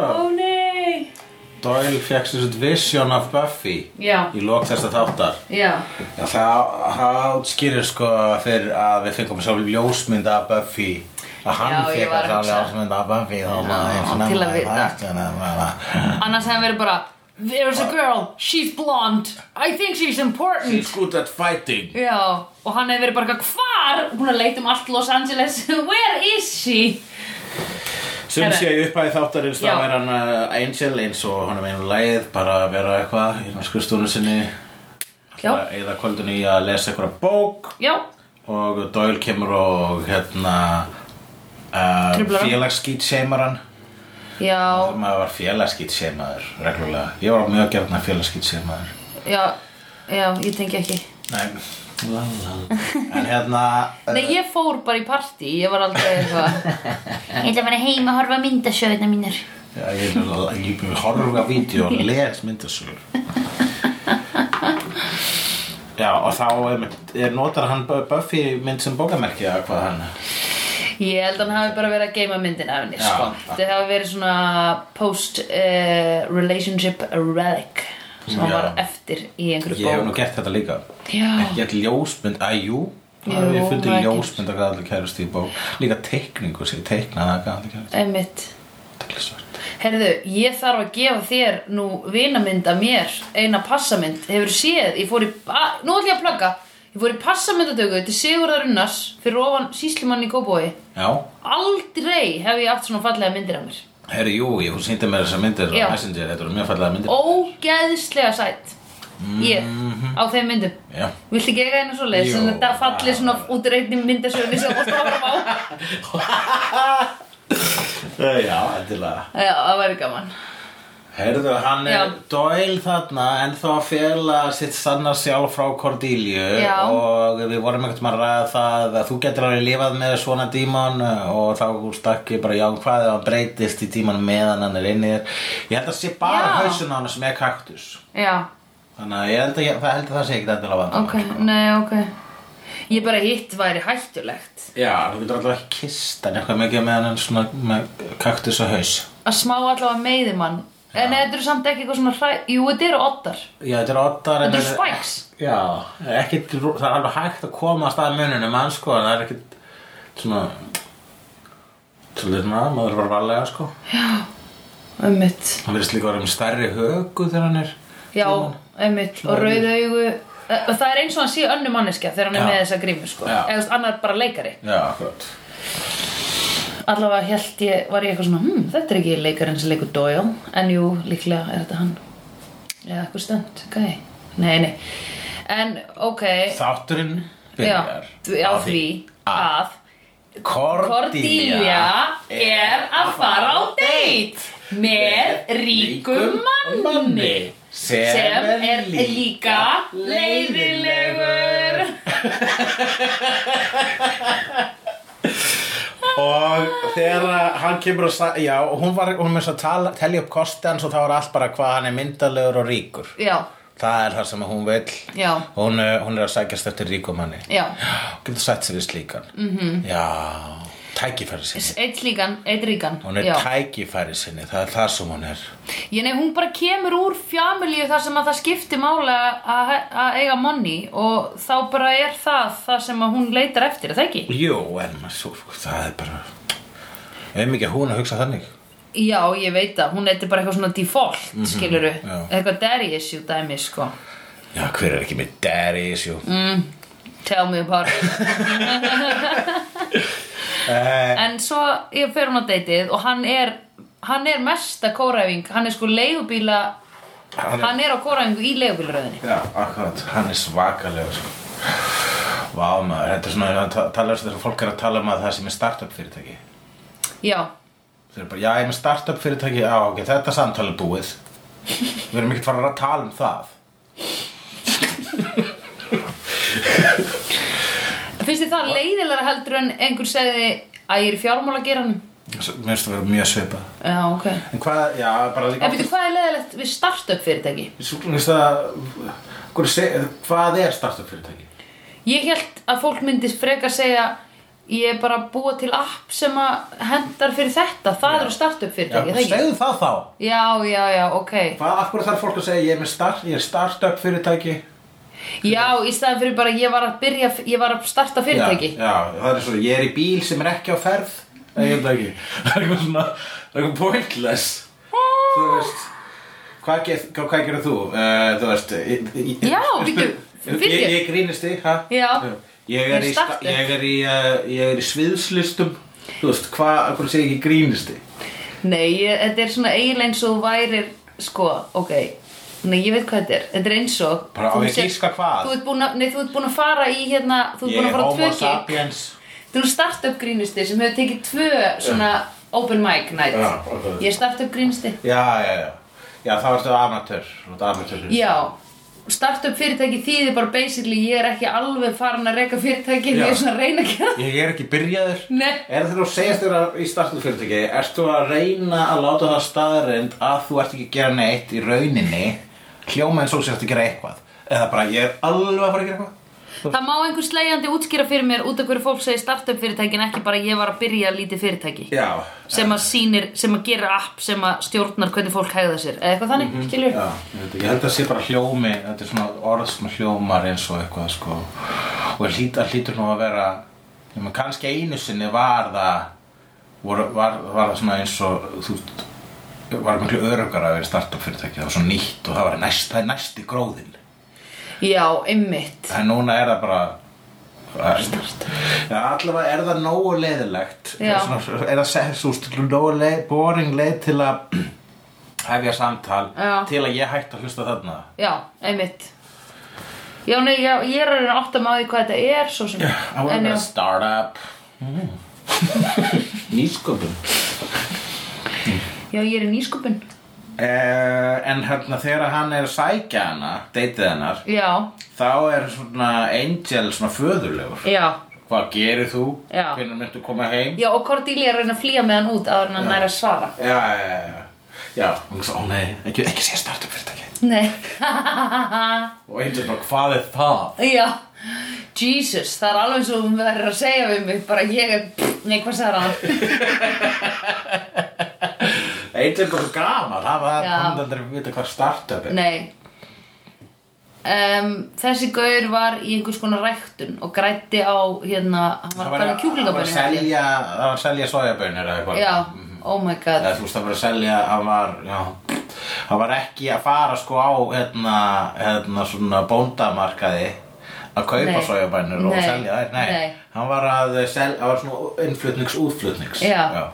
um Doyle fekk sér svona vision af Buffy Já. í lok þessa þáttar Já, Já, það, það skýrir sko fyrir að við fengum svo ljósmynd af Buffy að hann Já, ég fekk var að alltaf hugsa. ljósmynd af Buffy þá maður eins og til nefna sko, að vita. vita annars hefði verið bara There's a girl, she's blonde I think she's important She's good at fighting Já, og hann hefði verið bara eitthvað, hvar Hún er leitt um allt Los Angeles Where is she? Sem Herra. sé í upphæði þáttarins þá Já. er hann uh, Angel eins og hann er einu leið bara að vera eitthvað í skurstúnu sinni Já, eða kvöldun í að lesa eitthvað bók já, og Doyle kemur og hérna uh, Truflar hann. félagsskýtseimaran já, þegar maður var félagsskýtseimaður reglulega, ég var mjög gerðna félagsskýtseimaður já Já, ég tengi ekki nei la, la, la. en hérna Nei, ég fór bara í partí, ég var aldrei eitthvað Ég ætla að vera heima að horfa myndasjöðina mínir já, ég er að- ég byrja að horfa vídeo og les myndasögur já og þá er, er notar hann Bu- Buffy mynd sem bókamerki að hvað hann Ég held að hann hafi bara verið að geima myndina af henni, Já. sko Það hafi verið svona post-relationship relic sem hann Já. var eftir í einhverju ég hef nú bók gert þetta líka Já. ekki all ljósmynd, að jú Jú, ég það fundi er ljósmynd að allir kærast í bók líka teikningu sem ég teiknaði að Eh. allir kærast Einmitt allir svart Herðu, ég þarf að gefa þér nú vinamynd af mér, eina passamynd Hefur séð, ég fór í, a, nú ætlum ég að plugga Ég fór í passamyndatöku til Sigurðar Unnars fyrir ofan síslimann í Kóbói já, Aldrei hef ég átt svona fallega myndir af mér herri jú, ég hún sýndi mér þessar myndir Já. á Messenger, þetta eru mjög fallega myndir ógeðslega sætt ég á þeim myndum Já. viltu ekki eiga einu svo leið Jú. sem þetta falli svona út í reyndin myndasögunni sem þú varst að horfa á Eh, já, endilega já, það væri gaman herðu, hann er Já. Doyle þarna en þá að fjela sitt sanna sjálf frá Cordelia Já. og við vorum ekkert maður að ræða það að þú getur alveg lifað með svona dímon og þá stakki bara jákvæði og hann breytist í dímon meðan hann er inni í þér. ég held að sé Já. bara hausin á hann sem er kaktus já, þannig að ég held að, ég, það, held að það sé ekkert endilega vandamál ok, nei, ok ég bara hitt væri hættulegt Já, þú getur alltaf ekki kist en eitthvað mikið með hann svona með kaktus og haus að smá allavega meiðimann en þetta eru samt ekki eitthvað svona hræ... jú, þetta eru oddar Já, þetta er ottar en þetta eru spikes Já, ekki, það er alveg hægt að koma að staða mununum en sko, en það er ekkit svona svolítið svona, maður er bara varlega sko ummitt Hann verðist líka að vera um stærri högu þegar hann er já, ummitt og rauðu augu það er eins og hann sé önnu manneskja þegar hann er Já. með þessa grímu sko. Já. eða þú veist, annar bara leikari Já, akkurat Allavega held ég, var ég eitthvað svona, hm, þetta er ekki leikarinn sem leikur Doyle, en jú, líklega er þetta hann. Eða eitthvað stönd, ok. Nei, nei. En, ok, Þátturinn já, byrjar því- á því að Cordelia Cordelia er að fara á date með ríkum manni sem er líka leiðilegur. Og þegar að hann kemur að sa- já, og hún var, hún var með svo að tala, telja upp kosti hans og þá var allt bara hvað hann er myndalegur og ríkur. Já, Það er það sem hún vill. Já. Hún, eh, hún er að sækjast eftir ríkumanni. já. Mhm. Getur sætt sér í slíkan. Mm -hmm. Já, tækifæri sinni. Eitt líkan, eitt ríkan. Hún er já. tækifæri sinni, það er það sem hún er. Ég nei, hún bara kemur úr fjamilíu þar sem að það skipti mála að að eiga money og þá bara er það það sem að hún leitar eftir, er það ekki? Jú, en maður svo, sko, það er bara, ef mikið hún að hugsa þannig. Já, ég veit það, hún eitthvað bara eitthvað svona default, mm skiluru, já. eitthvað daddy issue dæmi, sko. Já, hver er ekki með daddy issue? Mm. Tell me about it. en svo ég fer hún á deytið og hann er, hann er mesta kóræfing, hann er sko leigubíla, Hann er- hann er á kóræfingu í leigubílaröðinni. Já, akkurat, hann er svakalegur sko. Vá maður, þetta er svona hann ta- talar þess að fólk er að tala um að það sem er startup fyrirtæki Já, Þeir eru bara, já ég er með startup fyrirtæki, já ok, þetta samtal er búið Við erum ekkert farin að tala um það finnst þið það leiðilega heldur en einhver segði að ég er í fjármála S- Mér finnst það vera mjög svipað Já, ok. En hvað, já, bara líka En veitu hvað er leðilegt við startup fyrirtæki? Svo finnst það, hverju seg- hvað er startup fyrirtæki? Ég held að fólk myndi frekar segja ég er bara að búa til app sem að hendar fyrir þetta það eru startup fyrirtæki, er það ekki? segðu það þá Já, já, já, ok Hvað, af hverju þarf fólk að segja ég er með start, ég er startup fyrirtæki Já, í staðan fyrir bara ég var að byrja ég var að starta fyrirtæki Já, já, það er svo, ég er í bíl sem er ekki á ferð Nei, ég held ekki Það er eitthvað svona, það er eitthvað pointless Þú veist Hvað, ger, hvað, hvað gerir þú? Uh, þú veist ég, ég, Já, bíddu, ég, fyrirgef. ég grínist þig, ha? Já. Ég er, í, sta- Startup. ég, er í, uh, ég er í sviðslistum Þú veist, hvað, af hverju segir ég grínist þig? Nei, ég, þetta er svona eiginlega eins og þú værir sko, ok Nei, ég veit hvað þetta er, þetta er eins og Bara á þú ég sért- gíska hvað? Þú ert búin að, nei, þú ert búin að fara í hérna Þú ert Ég búin að er fara á homo tvö gig sapiens Þú erum startup grínisti sem hefur tekið tvö svona open mic night Já, ok. Ég er startup grínisti Já, já, já Já, þá ertu amatör, þú ert amatör Já, startup fyrirtæki þýðir bara basically ég er ekki alveg farin að reka fyrirtæki því Já. ég er svona að reyna ekki að Ég er ekki byrjaður Nei. Er þegar þú segist þér í startup fyrirtæki Ertu að reyna að láta það staðarind að þú ert ekki að gera neitt í rauninni hljóma eins og þú sért að gera eitthvað eða bara ég er alveg að fara að gera eitthvað Það má einhver slegjandi útskýra fyrir mér út af hverju fólk segir startup fyrirtækin ekki bara ég var að byrja lítið fyrirtæki Já, sem að sýnir, sem að gera app sem að stjórnar hvernig fólk hegða sér eða eitthvað þannig, mm -hmm. skilur Mhm. já ég veit ekki. ég held að sé bara hljómi þetta er svona orð sem hljómar eins og eitthvað sko. og hlýta, hlýtur nú að vera nema, kannski einu sinni var það var, var, var það svona eins og þú var miklu örugar að vera startup fyrirtæki það var svo nýtt og það var næst, það er næsti gróðinn já, einmitt En núna er það bara Já, allavega er það nógu leiðilegt Já. Svona- Er það sett, þú veist, nógu leið, boring leið til að hefja samtal Já. til að ég hætti að hlusta þarna já, einmitt já, nei, já, ég er að reyna átt að maður hvað þetta er svo sem I want en to já, start up Mm. Nýsköpun já, ég er í nýsköpun uh, En hérna þegar hann er að sækja hana, deytið hennar já, þá er svona Angel svona föðurlegur já, Hvað gerir þú? Já. Hvernig myndu koma heim? já, og Cordelia er að reyna að flýja með hann út áður en hann næra að svara Já, já, já, já Já, hún sagði, ó nei, ekki, ekki sé startup fyrirtæki nei, Og einnig bara, hvað er það? já Jesus, það er alveg svo hún verður að segja við mig bara ég er, nei, hvað sagði hann Einnig bara svo gaman, það var Já. hann aldrei að vita hvað startup er Nei um, Þessi gaur var í einhvers konar ræktun og grætti á hérna, hann var að tala um Það það var að kjúklingabönni selja, það var að selja sojabönir eða eitthvað Mhm. Já, oh my god Eða þú veist, það var að selja, hann var, já Hann var ekki að fara sko á, hérna, hérna svona bóndamarkaði að kaupa Nei. sojabönir og Nei. selja þær, nei. Nei. Hann var að selja, hann var svona innflutnings, útflutnings Já. já.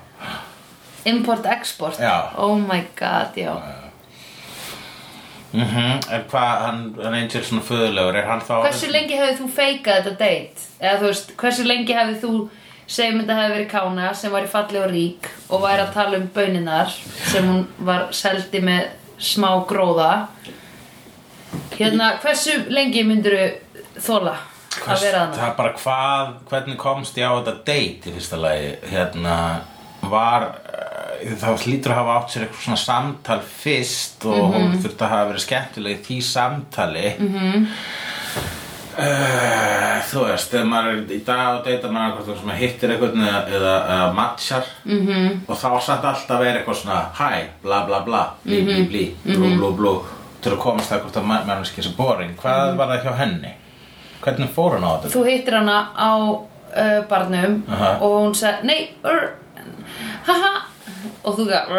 Import-export, Já. oh my god, já Mm En hvað, hann, hann Angel svona föðulegur, er hann þá Hversu lengi hefði þú feikað þetta date? Eða þú veist, hversu lengi hefði þú segjum þetta hefði verið kána sem var í falli og rík og væri að tala um böninar sem hún var seldi með smá gróða Hérna, hversu lengi myndirðu þóla að Hvers- vera þarna? Það er bara hvað, hvernig komst ég á þetta date í fyrsta lagi hérna, var eh, þá hlýtur að hafa átt sér eitthvað svona samtal fyrst og Mhm. hún þurfti að hafa verið skemmtileg í því samtali -hmm. þú veist, þegar maður er í dag á date að maður hvort svona hittir eitthvað eða, eða, eða matchar -hmm. Mhm. og þá samt alltaf verið eitthvað svona hæ, bla bla bla, blí Mhm. blí blí blú blú blú, til að komast það hvort að ma- manneskja sé boring, hvað Mhm. var það hjá henni? Hvernig fór hann á þetta? Þú hittir hana á uh, barnum Aha. og hún sagði, nei, ur, haha, og þú gaf,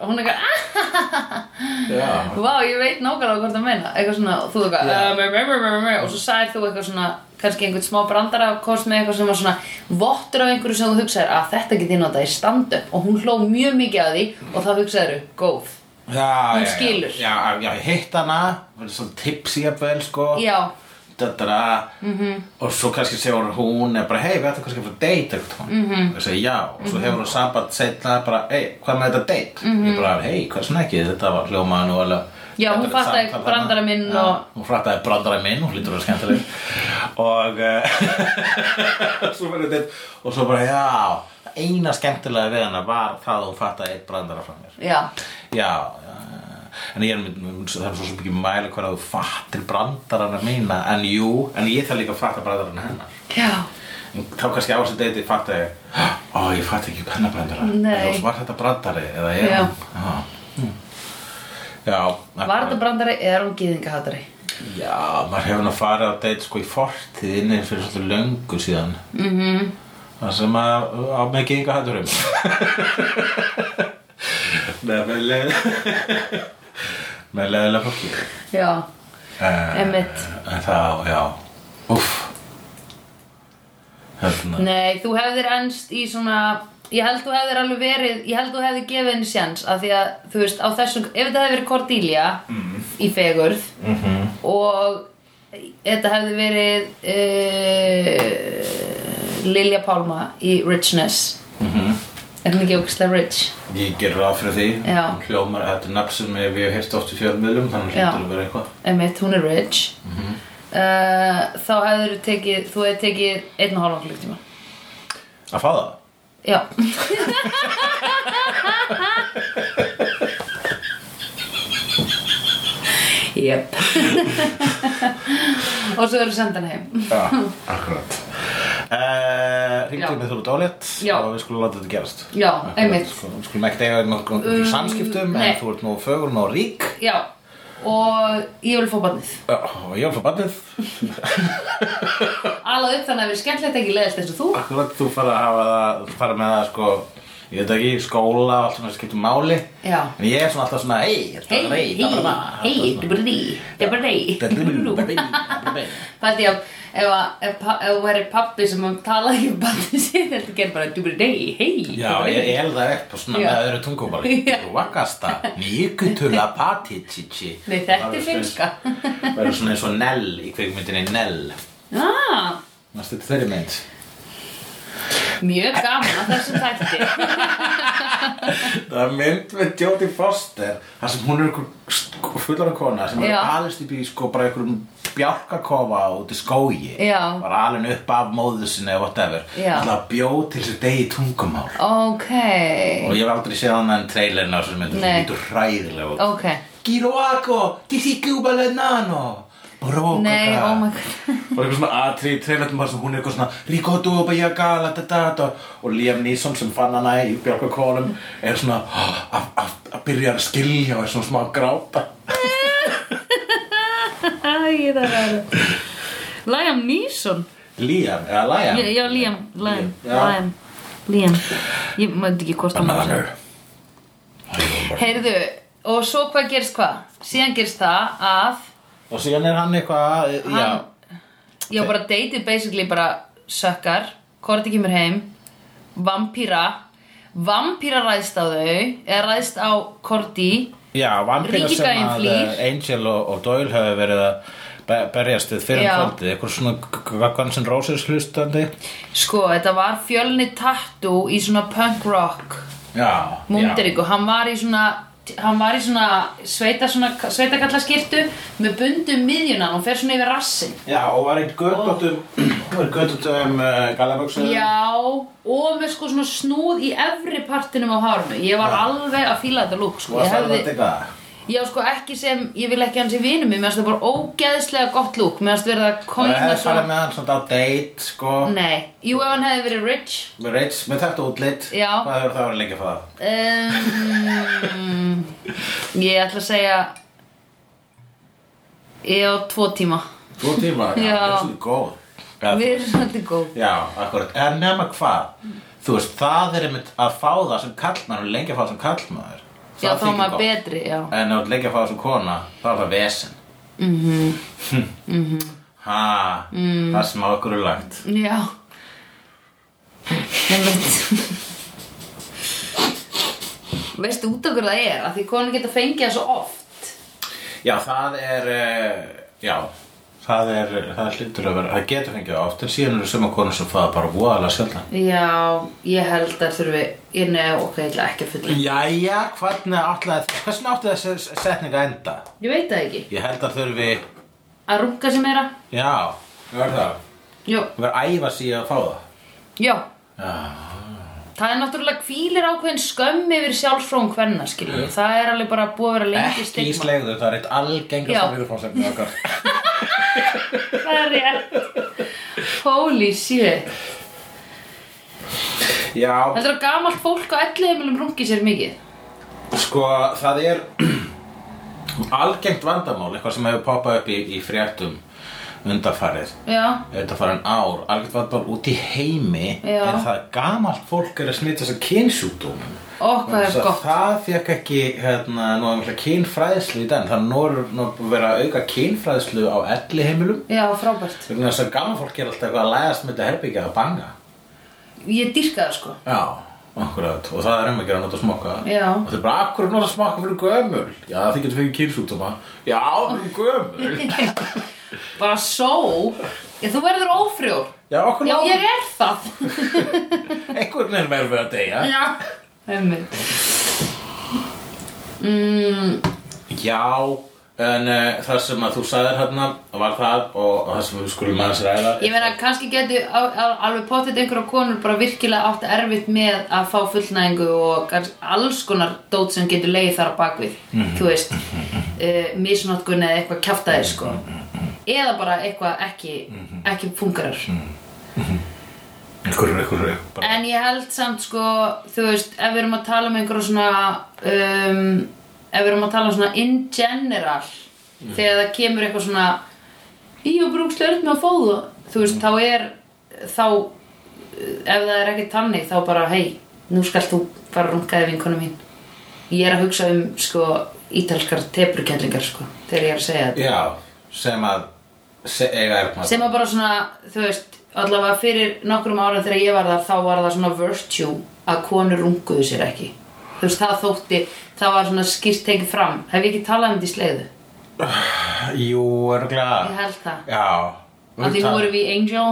og hún eitthvað, ah, Já. vá, ég veit nákvæmlega hvað það meina, eitthvað svona, og þú eitthvað, Já. yeah. uh, meh, meh, meh, meh, meh, og svo sagðir þú eitthvað svona, kannski einhvern smá brandara og kost með eitthvað sem var svona vottur af einhverju sem þú hugsaðir að þetta geti notað í stand-up og hún hló mjög mikið að því og þá hugsaðir þú, góð, Já, Hún já, já. skilur. Já, já, ég hitt hana, verið svona tips ég að vel, sko. já, Mhm. Dadada. -hmm. Og svo kannski segir hún, hún er bara, hei, við ætlum kannski að fara að deyta eitthvað. Mm Mhm. -hmm. Ég segi já, og svo hefur hún samband setna bara, hei, hvað með þetta deyt? Mm -hmm. Ég bara, hei, hvað sem ekki, þetta var hljómaðan og alveg. Mhm. Já, hún þetta er fattaði samtal þarna. brandara minn Já, og- Hún fattaði brandara minn, hún hlýtur að vera skemmtileg. og, eh, svo verið þetta, og svo bara, já, eina skemmtilega við hana var það að hún fattaði eitt brandara frá mér. já, Já, já, en ég er með, með- það er svo sem ekki mæla hver að þú fattir brandarana mína, en jú, en ég þarf líka að fatta brandarana hennar. já, þá kannski á þessu deiti fatt að ég ó, ég fatt ekki pennabrandara Nei. Eða var þetta brandari eða ég Já. já, Mm. já Var þetta brandari eða er hún gýðingahatari? Já, maður hefur nú farið á date sko í fortíðinni fyrir svolítið löngu síðan mm Mhm. -hmm. Það sem að um. á mig gengur hætturum Nei, með leið með leiðilega fólki Já, Eh, Einmitt. En það, já Úff Hérna nei, þú hefðir ennst í svona Ég held þú hefðir alveg verið, ég held þú hefðir gefið henni sjans af því að, þú veist, á þessum, ef þetta hefði verið Cordelia í fegurð -hmm. og þetta hefði verið uh, Lilja Pálma í Richness Er hún ekki ógustlega rich? Ég gerir ráð fyrir því Já. Hún Hljómar, þetta er nafn sem við hefum heyrt oft í fjölmiðlum Þannig Já. hlýtur að vera eitthvað Emmett, hún er rich uh, Þá hefðir tekið, þú hefði tekið einn og hálfan klukktíma Að fá það? Já Jep Og svo eru sendan heim Já, akkurat uh, Ringdu Já. með þú út álétt Já. og við skulum láta þetta gerast Já, Akkurat, einmitt. sko, Við skulum ekki eiga nokkuð um, Um, samskiptum nei. en þú ert nú fögur, nú rík Já Og ég vil fá barnið Já, og ég er frá bandið Alað upp þannig að við skemmtilegt ekki leðist eins og þú Akkurat þú fara að hafa það þú fara með það sko ég veit ekki, skóla og allt svona skiptum máli Já. en ég er svona alltaf svona hei, Hei, hei, hei, dubrri, dubrri hei Það er ef ef að- ef pa- ef þú væri pappi sem talaði ekki um barnið sér Þetta gerir bara dubrri, hei Já, ég ég held það upp og svona Já. með öðru tungumali Já. Vakasta, nýkutula patitici Nei, þetta er finnska. Það er svona eins og Nell í kveikmyndinni Nell Ah, Næstu til þeirri mynd mjög gaman að þessum þætti Það er mynd með Jodie Foster þar sem hún er ykkur fullara kona sem er Já. alist upp í sko bara ykkur bjálkakofa út í skógi Já. bara alin upp af móðu sinni og whatever Já. alltaf bjóð til þessu degi tungumál Ok og ég hef aldrei séð hann en trailerinn á þessu mynd það Nei. lítur hræðilega út Ok Kiroako, Kisiku Balanano Bro, Nei, kaka. oh my god. Bara eitthvað svona atrið í treylatum þar sem hún er eitthvað svona Rikotu og Bayagala, da da da Og Liam Neeson sem fann hana í bjálkakónum Er svona "Ah, að að- að byrja að skilja og er svona smá að gráta Æ, það er það Liam Neeson Liam, eða Liam Já, já, Liam, Liam, Já. Liam Liam Ég maður ekki hvort hann var að segja. Another Heyrðu, og svo hvað gerst hvað? Síðan gerst það að Og síðan er hann eitthvað Já, hann, Já, bara dateið basically bara sökkar Korti kemur heim Vampíra Vampíra ræðst á þau Eða ræðst á Korti já vampíra sem Ríkigæinn að flýr. eh, Angel og, og Doyle hafa verið að be- berjast við fyrir Já. kvöldið Eitthvað svona g- g- Guns N' Roses hlustandi Sko, þetta var fjölni tattoo í svona punk rock Já, Mundiríku, hann var í svona hann var í svona sveita, svona sveitakallaskirtu með bundu um miðjuna og fer svona yfir rassin Já, og var eitt um- göttum var göttum uh, galaböksu Já, og með sko svona snúð í efri partinum á hárunu ég var alveg að fíla þetta lúk sko. Þú ég, varst alveg að hefði, teka það ég sko ekki sem ég vil ekki hans í vinum mér meðast það bara ógeðslega gott lúk meðast verið að Það kóna hefði farið hérna svona með hann svona á date, sko Nei, jú ef hann hefði verið rich Með reits, með þetta útlit Já. Hvað hefur það verið lengi að fá það? um, Ég ætla að segja Ég á tvo tíma Þú tíma, já, Já. það er svolítið góð Já, Við erum svolítið góð Já, akkurat, en nema hvað Þú veist, það er einmitt að fá það sem kallmaður og lengi að fá það sem kallmaður Já, þá er þykir maður gott. betri, já. En ef þú ert lengi að fá það sem kona, þá er það vesen Mhm. Hm. Ha, Mm. það sem á okkur er lagt Já. Ég veit. Veistu út okkur það er, að því konur geta fengið það svo oft. Já, það er, uh, já, það er, það hlýtur að vera, það getur fengið það oft, en síðan eru suma konur sem faða bara voðalega sjaldan. Já, ég held að þurfi, ég nefn, ok, ég ætla ekki að fulla. Jæja, hvernig átlaði, hvernig átti þessi setning að enda? Ég veit það ekki. Ég held að þurfi, Að runga sem er að? já, verður það, Jó, verður æfa sig í að fá það. já. Já, Það er náttúrulega kvílir ákveðin skömm yfir sjálfsfrón hverna, skiljum. Það er alveg bara búið að vera lengi ekki í slegðu, það er eitt algengast Já. að við fórum sem okkar. Það er rétt. Holy shit. Já, Heldur að gamalt fólk á elli heimilum rungi sér mikið? Sko, það er algengt vandamál, eitthvað sem hefur poppað upp í, í fréttum undarfarið Já, undarfarin ár, algengt vandamál út í heimi Já. en það gamalt fólk er að smita þess að kynsjúkdómum og hvað er gott það fekk ekki hérna, nú er mikla kynfræðslu í dag þannig að nú er nú er verið að auka kynfræðslu á elli heimilum Já, frábært vegna þess að gamalt fólk er alltaf eitthvað að læðast með þetta herbyggja að banga Ég dýrka það sko Já, akkurat, og það er um að gera að nota smokka Já. Og það er bara, akkur nota smokka fyrir gömul Já, þið getur fengið kynsúkdóma Já, fyrir gömul Bara só Ég, þú verður ófrjór Já, okkur Já, ég er það Einhvern veginn verður við að deyja Já Einmitt mm, Já, en uh, það sem að þú sagðir hérna var það og, og það sem við skulum aðeins ræða Ég meina, kannski geti á- á- alveg pottet einhverja konur bara virkilega átt erfitt með að fá fullnæðingu og gans- alls konar dót sem getur leið þar á bakvið, þú veist, uh, misnotkun eða eitthvað kjaftaði, sko. Eða bara eitthvað ekki, ekki fungarar. Einhver, einhver, einhver En ég held samt, sko, þú veist, ef við erum að tala um einhverja svona, um, ef við erum að tala um svona in general, þegar það kemur eitthvað svona, í og brúkslega upp með að fá það, þú veist, þá er, þá, eh, ef það er ekki tannig, þá bara, hei, nú skalt þú bara rungaði vinkonu mín. Ég er að hugsa um, sko, ítalskar tebrukendlingar, sko, þegar ég er að segja þetta. Já, sem að se, eiga er maður Sem að bara svona, þú veist, allavega fyrir nokkrum ára þegar ég var það, þá var það svona virtue að konur runguðu sér ekki. Þú veist, það þótti, það var svona skýrt tekið fram. Hef ég ekki talað um þetta í sleiðu? Jú, er Ég held það. Já Af því nú erum við í Angel.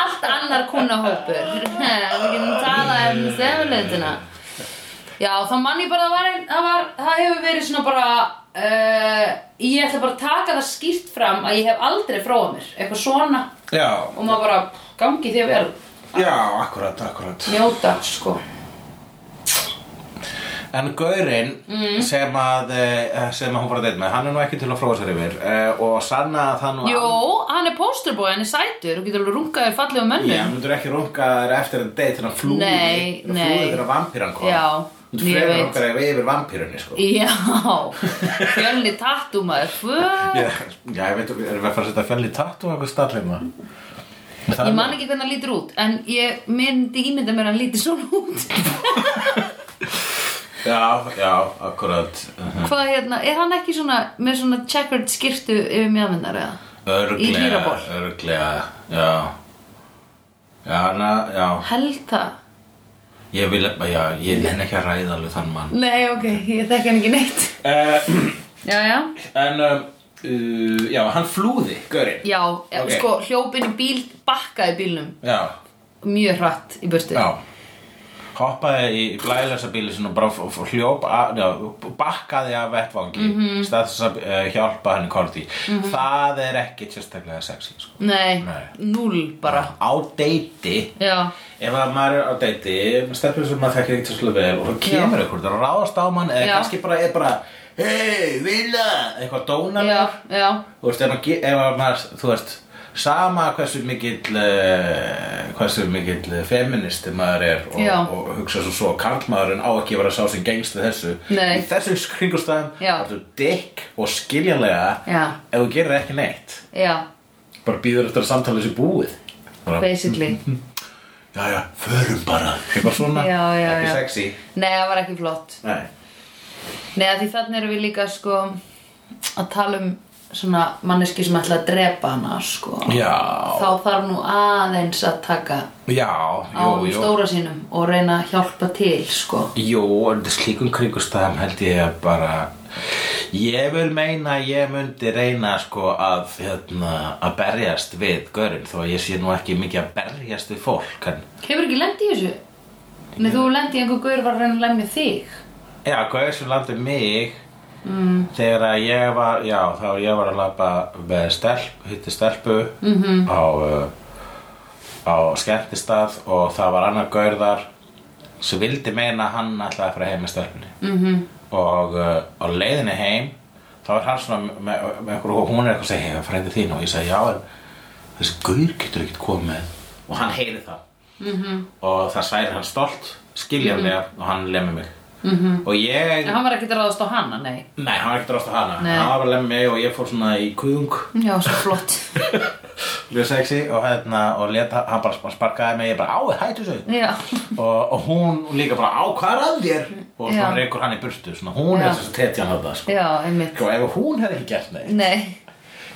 Allt annar kunnahópur. við getum talað um stefnuleitina. Já, þá mann ég bara að það var, ein- það, var, það hefur verið svona bara, uh, ég ætla bara að taka það skýrt fram að ég hef aldrei fróað mér. Eitthvað svona. Já, og maður bara gangi því vel já, akkurat, akkurat njóta sko En gaurinn Mm. sem að eh, sem að hún var að deyta með, hann er nú ekki til að fróa sér yfir eh, og sanna að það nú Jó, hann er pósterbói, hann er sætur og getur alveg rungaðir fallega um Já, mönnum hann myndur ekki runga þér eftir að deyta þegar hann flúði Nei, þegar hann nei. flúði þegar vampýran kom Já, Þú ég frekar veit. rungar ef yfir vampýrunni sko Já, fjölni tattúmaður Fuck. Já, já, ég veit, erum við að fara að setja fjalli tattu og eitthvað hérna? stallina Ég man ekki hvernig hann lítur út en ég myndi ímynda mér að hann lítur svona út Já, já, akkurat uh, Hvað hérna, er hann ekki svona með svona checkered skirtu yfir mjöðmyndar eða? Í Örglega, hlýraból. örglega, já Já, na, já, Held það? ég vil, já, ég nenni ekki að ræða alveg þann mann Nei, ok, ég þekki hann ekki neitt uh, Já, já En, um, uh, já, hann flúði, Gaurinn Já, Ok. sko, hljópin í bíl, bakkaði bílnum Já, mjög hratt í burtu já Hoppaði í blæðlösa bíli sinni og bara f- f- hljóp, að, já, bakkaði af vettvangi mm -hmm. Mhm. stað þess að uh, hjálpa henni Korti Það er ekki sérstaklega sexy, sko Nei, Nei. núll bara Á deiti Já, Ef að maður er á deiti, stelpur sem maður þekkir ekki svolítið vel og það kemur einhvern, það ráðast á mann eða Já. kannski bara er bara Hei, vilja, eitthvað dónalega já, já Þú veist, ef maður, ge- ef að maður, þú veist, sama hversu mikill, uh, hversu mikill eh, feministi maður er Já. og, og hugsa svo svo, karlmaðurinn á ekki að vera sá sem gengst við þessu. Nei. Í þessum kringustæðum, Já. þú dikk og skiljanlega Já. ef þú gerir ekki neitt. Já, Bara býður eftir að samtala þessi búið. Bara, basically já, já, förum bara. Eitthvað svona, Já, já, ekki já. sexy. Nei, það var ekki flott Nei. Nei, af því þannig erum við líka sko að tala um svona manneski sem ætla að drepa hana sko Já, Þá þarf nú aðeins að taka já, á jú, jú. stóra sínum og reyna að hjálpa til sko Jó, undir slíkum kringustæðum held ég að bara ég vil meina að ég myndi reyna sko að hérna, að berjast við görinn þó að ég sé nú ekki mikið að berjast við fólk en Hefur ekki lendi í þessu? Nei, þú lendi í einhver gaur var að reyna að lemja þig já, gaur sem landi mig mm. þegar að ég var já, þá ég var að labba með stelp hitti stelpu -hmm. á, uh, á skemmtistað og það var annar gaur þar sem vildi meina að hann ætlaði að fara heim með stelpunni Mhm, og uh, á leiðinni heim þá er hann svona með, með einhverju og hún er eitthvað að segja, ég frændi þín og ég segi já en þessi gaur getur ekkert komið og hann heyri það -hmm. og það særi hann stolt skiljanlega og hann lemmi mig -hmm. og ég En hann var ekki að ráðast á hana, nei Nei, hann var ekkert rást á hana Nei. Hann var bara að lemja mig og ég fór svona í kuðung Já, svo flott Ljóð sexy og hérna og leta, hann bara hann sparkaði mig Ég bara, á, hættu þessu Já, og, og hún líka bara, á, hvað er að þér? Og svona Já. reykur hann í burtu svona, Hún Já. er þess að tetja hann að það sko. já, einmitt Og ef hún hefði ekki gert neitt Nei,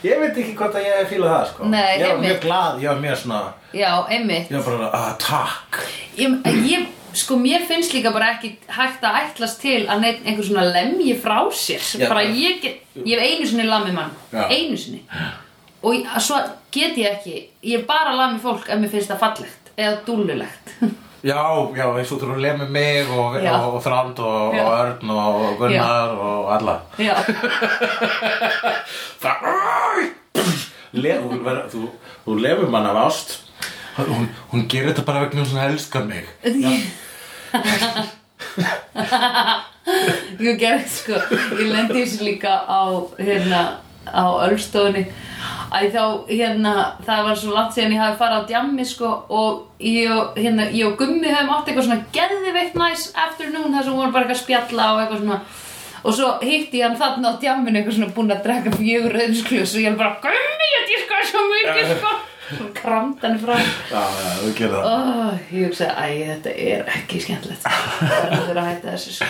Ég veit ekki hvort að ég hef fílað það sko. Nei, Ég var einmitt. mjög glað, ég var mjög svona já, einmitt Ég var bara, ah, takk Ég, ég sko, mér finnst líka bara ekki hægt að ætlast til að neitt einhver svona lemji frá sér Já. bara ég get, ég hef einu sinni lamið mann Já. einu sinni og ég- svo get ég ekki, ég bara lamið fólk ef mér finnst það fallegt eða dúllulegt Já, já, eins og þú eru lemið mig og, Já. og, og Þránd og, Já. og Örn og Gunnar og alla já, Það Le, hún, ver, þú, þú lefur mann af ást hún, hún gerir þetta bara vegna þess að hún elskar mig Já, ég gerði sko ég lendi þessu líka á hérna, á Ölstofunni Æ þá, hérna, það var svo langt síðan ég hafi farið á djammi sko og ég og, hérna, ég og Gummi höfum átt eitthvað svona geðveitt næs afternoon þar sem við vorum bara eitthvað að spjalla og eitthvað svona og svo hitti ég hann þarna á djamminu eitthvað svona búinn að drekka fjögur öðnsklus og ég er bara Gummi, ég diska svo mikið sko og kramt hann frá já, já, þú gerir það Oh, ég hugsaði, æ, þetta er ekki skemmtilegt Það er að hætta þessu sko.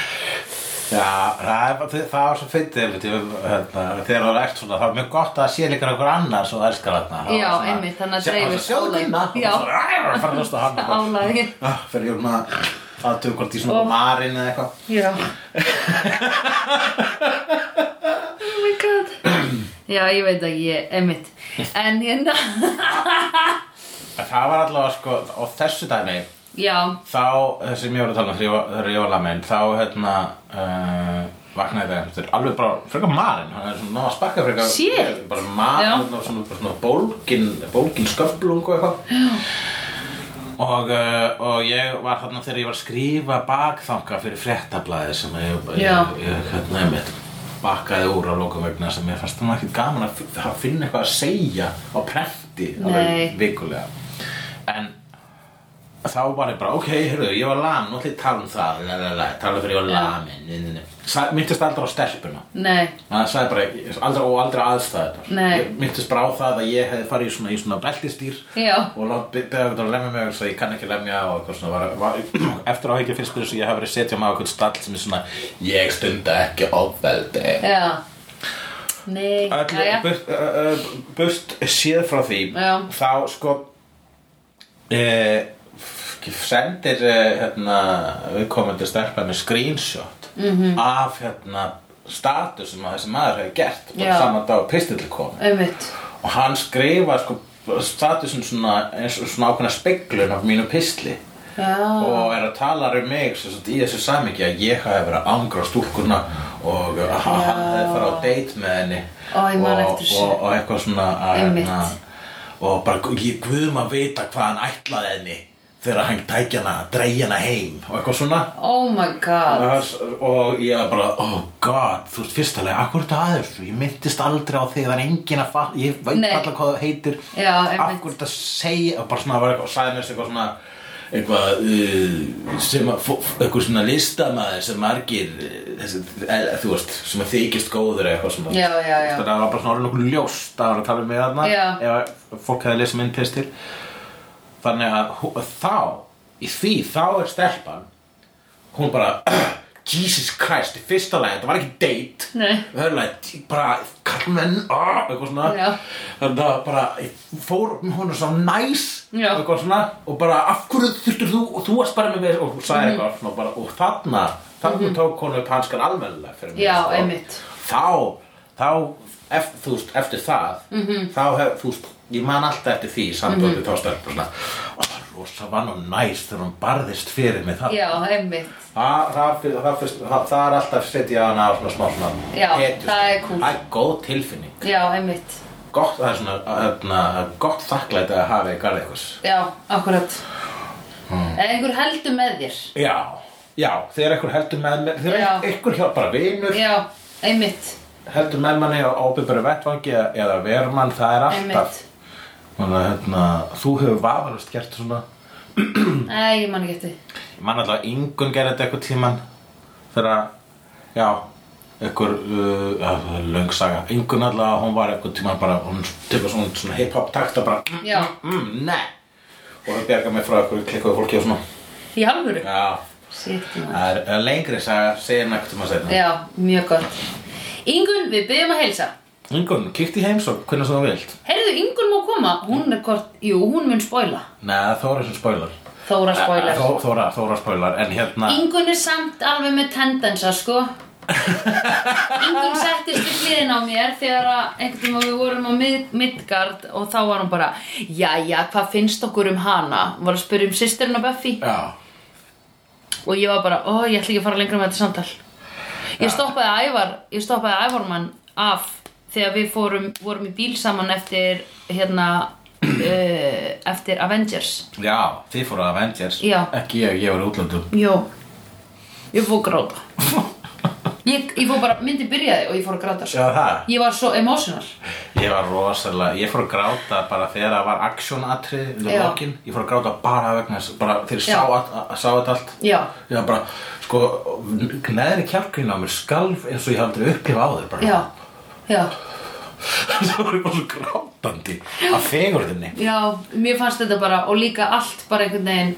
Já, það, er- það var svo fyndið einmitt, ég- hérna, þegar það er ekkert svona það er mjög gott að það sé líka einhver annar svo elskar þarna Það var Já, svona- einmitt, þannig að Sjá- dreifist Sjáðu álagið. kynna Já. Það fara að hlusta á hann eitthvað. Álagið. Já, Fyrir ég um að aðtöku hvort í svona Ó. marinn eða eitthvað Já Oh my god Já, ég veit að ég, emitt En hérna, En Það var allavega sko, á þessu dæmi já, þá, þessi sem ég var að tala um þegar ég var- þegar ég var lamein, þá hérna uh, vaknaði það eftir alveg bara frekar marinn, hann er svona ná að sparka frekar Shit. bara Já. marinn og svona, bara svona bólgin, bólgin sköflung og eitthvað og, uh, og ég var þarna þegar ég var að skrifa bakþanga fyrir fréttablaði sem ég, ég, Já. ég hérna einmitt bakkaði úr á lokum vegna sem ég fannst þannig ekkert gaman að f- að finna eitthvað að segja á prenti Nei. alveg vikulega en þá var ég bara, ok, heyrðu, ég var lam, nú ætlum ég að tala um það, la, la, la, tala fyrir ég var lamin, myndist aldrei á stelpuna. nei, Það sagði bara, ég- aldrei og aldrei aðstæðunar. Nei. Ég myndist bara á það að ég hefði farið í svona, í svona beltistýr Já. og látt beða þetta að lemja mig og ég kann ekki lemja og eitthvað svona. Var, var, eftir áhyggja fyrst þess að ég hafi verið setja mig á eitthvað stall sem er svona, ég stunda ekki ofveldi. já Nei, Öll, jæja. burt, uh, uh, burt séð frá því Já. þá sko uh, sendir uh, hérna, viðkomandi stelpa með screenshot Mhm. -hmm. af hérna status sem að þessi maður hefur gert Já. bara saman dag pistill kom Einmitt, og hann skrifa sko statusin svona, eins og svona ákveðna speglun af mínu pistli já og er að tala um mig sem sagt, í þessu samingi að ég hafi verið að angra á stúlkuna og að hann hefði farið á date með henni Ó, ég man og, eftir þessu. og, og eitthvað svona að, hérna, Einmitt. og bara gu- ég guðum að vita hvað hann ætlaði henni þegar hann tækja hana, dreigja hana heim og eitthvað svona Oh my god og ég var bara, oh god þú veist fyrstulega, akkur þetta aðeins ég myndist aldrei á þig, það er engin að fatta ég veit Nei. alltaf hvað það heitir Já, einmitt. akkur þetta segja, og bara svona var eitthvað, sagði mér eitthvað svona eitthvað uh, sem að, fó- eitthvað svona listamaður sem margir eh, þessi, eh, þú veist, sem að þykist góður eða eitthvað svona Já, já, já. þetta var bara svona orðin okkur ljóst að vera að tala um mig þarna Já. ef að fólk hefði lesið minn pistil þannig að hú- þá í því, þá er stelpan hún bara Jesus Christ, í fyrsta lagi, þetta var ekki date Nei. Það er lagi, bara kallmenn, ah, eitthvað svona Já. Þannig að bara, ég fór með honum svo næs Já. Eitthvað svona, og bara, af hverju þurftur þú, og þú varst bara með mér Og hún Mhm. sagði eitthvað svona, bara, og þarna, þarna tók hún upp hanskan almennilega fyrir mig Já, sko. einmitt. Þá, þá, ef, þú veist, eftir það, Mhm. -hmm. þá hef, þú veist, ég man alltaf eftir því Samböndi mm -hmm. þá stelpa svona "Ah, Rosa var nú næs þegar hún barðist fyrir mig það Já, einmitt Það, það, fyrir- það, fyrst- það, það er alltaf setja hana á svona smá svona Já, hetju, það sko. er kúl. Það er góð tilfinning Já, einmitt Gott, það er svona, öfna, gott þakklæti að hafa í garði einhvers Já, akkurat Eða einhver heldur með þér Já, já, þegar einhver heldur með mér Þegar Já. einhver hjálp bara vinur Já, einmitt heldur með manni á ábyrgari vettvangi eða- eða verumann, það er alltaf Einmitt. Þannig að hérna, þú hefur vafalist gert svona Nei, ég man ekki eftir Ég man alltaf að yngun gerði þetta eitthvað tíman þegar að, já, einhver, uh, já, það er löng saga. Yngun alltaf, hún var eitthvað tíman bara, hún tekur svona, svona hip-hop takta bara, mm, Já, mm, ne. Og það bjarga mig frá eitthvað klikkuðu fólki og svona. í alvöru Já, Sitt maður það er- er lengri saga, segir nægt um að segna. Já, mjög gott Ingun, við byggjum að heilsa Yngun, kíkti heimsók, hvernig sem þú vilt. Heyrðu, Ingun má koma Hún er hvort, jú, hún mun spoila Nei, Þóra sem spoilar. Þóra spoilar Þó- Þóra, Þóra spoilar, en hérna... Ingun er samt alveg með tendensa, sko Ingun settist við hliðin á mér þegar að einhvern tíma við vorum á mið, Midgard og þá var hún bara Jæja, hvað finnst okkur um hana? Hún var að spyrja um systurinn á Buffy Já, og ég var bara, ó, ég ætla ekki að fara lengra með þetta samtal ég stoppaði Ævar ég stoppaði Ævarmann af þegar við fórum, vorum í bíl saman eftir hérna uh, eftir Avengers já, þið fóru að Avengers. Já. Ekki ég, ég var í útlöndum. Jó, ég fór að gráta ég, ég fór bara, myndi byrjaði og ég fór að gráta sko. Já, það. ég var svo emotional Ég var rosalega, ég fór að gráta bara þegar það var aksjónatrið við Já. lokin, ég fór að gráta bara vegna þess, bara þegar ég sá, Já. að, að, sá þetta allt Já. Ég var bara, sko, neðri kjarkurinn á mér skalf eins og ég hafði aldrei upplifa á þér bara já, já, Það var ég bara svo grátandi af fegurðinni já, mér fannst þetta bara og líka allt bara einhvern veginn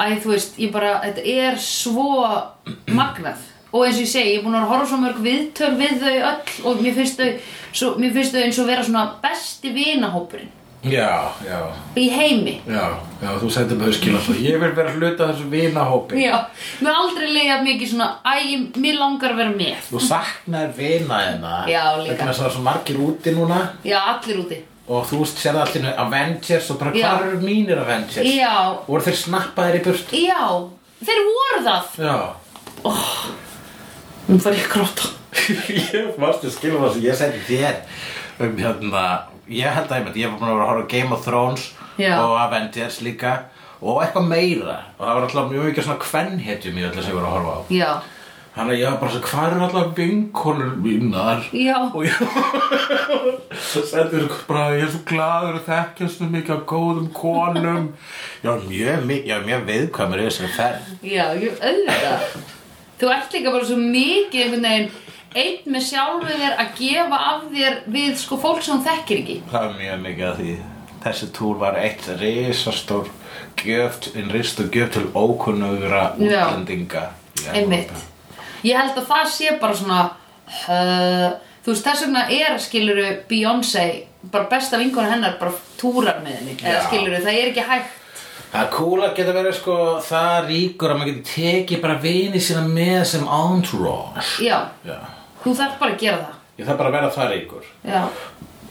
Æ, þú veist, ég bara, þetta er svo magnað og eins og ég segi, ég er búin að horfa á svo mörg viðtöl við þau öll og mér finnst þau, svo, mér finnst þau eins og vera svona besti vinahópurinn Já, já, í heimi já, já, þú sendir mig þau skilja svo Ég vil vera hluta af þessu vinahópi Já, mér aldrei leiða mikið svona, æ, mér langar að vera með Þú saknar vina þeirna Já, líka. Vegna þess að það er svo margir úti núna Já, allir úti og þú sérði allir Avengers og bara Já. hvar eru mínir Avengers Já, Voru þeir snappaðir í burtu já, þeir voru það Já Nú þarf ég að gráta ég varst að skilja það sem ég segi þér um hérna ég held að einmitt, ég var búin að vera að horfa á Game of Thrones Já. og Avengers líka og eitthvað meira og það var alltaf mjög mikið svona kvennhetjum í öllu sem ég var að horfa á Já, þannig að ég var bara svo hvað er alltaf vinkonur mínar já, og ég svo sendur ykkur bara ég er svo gladur að þekkja svona mikið af góðum konum ég var mjög, mi- ég var mjög viðkvæmur í þessari ferð já, ég auðvitað Þú ert líka bara svo mikið einhvern veginn Einn með sjálfu þér að gefa af þér við sko fólk sem hún þekkir ekki Það er mjög mikið að því þessi túr var eitt risastór gjöft, en rist og gjöft til ókunnugra Já. útlendinga í Evrópu. Einmitt Ég held að það sé bara svona uh, Þú veist, þess vegna er skiluru Beyoncé Bara besta vinkona hennar bara túrar með henni Eða Já. skiluru, það er ekki hægt Það er cool að geta verið sko það ríkur að maður getur tekið bara vini sína með sem entourage Já, Já, þú þarf bara að gera það ég þarf bara að vera það ríkur Já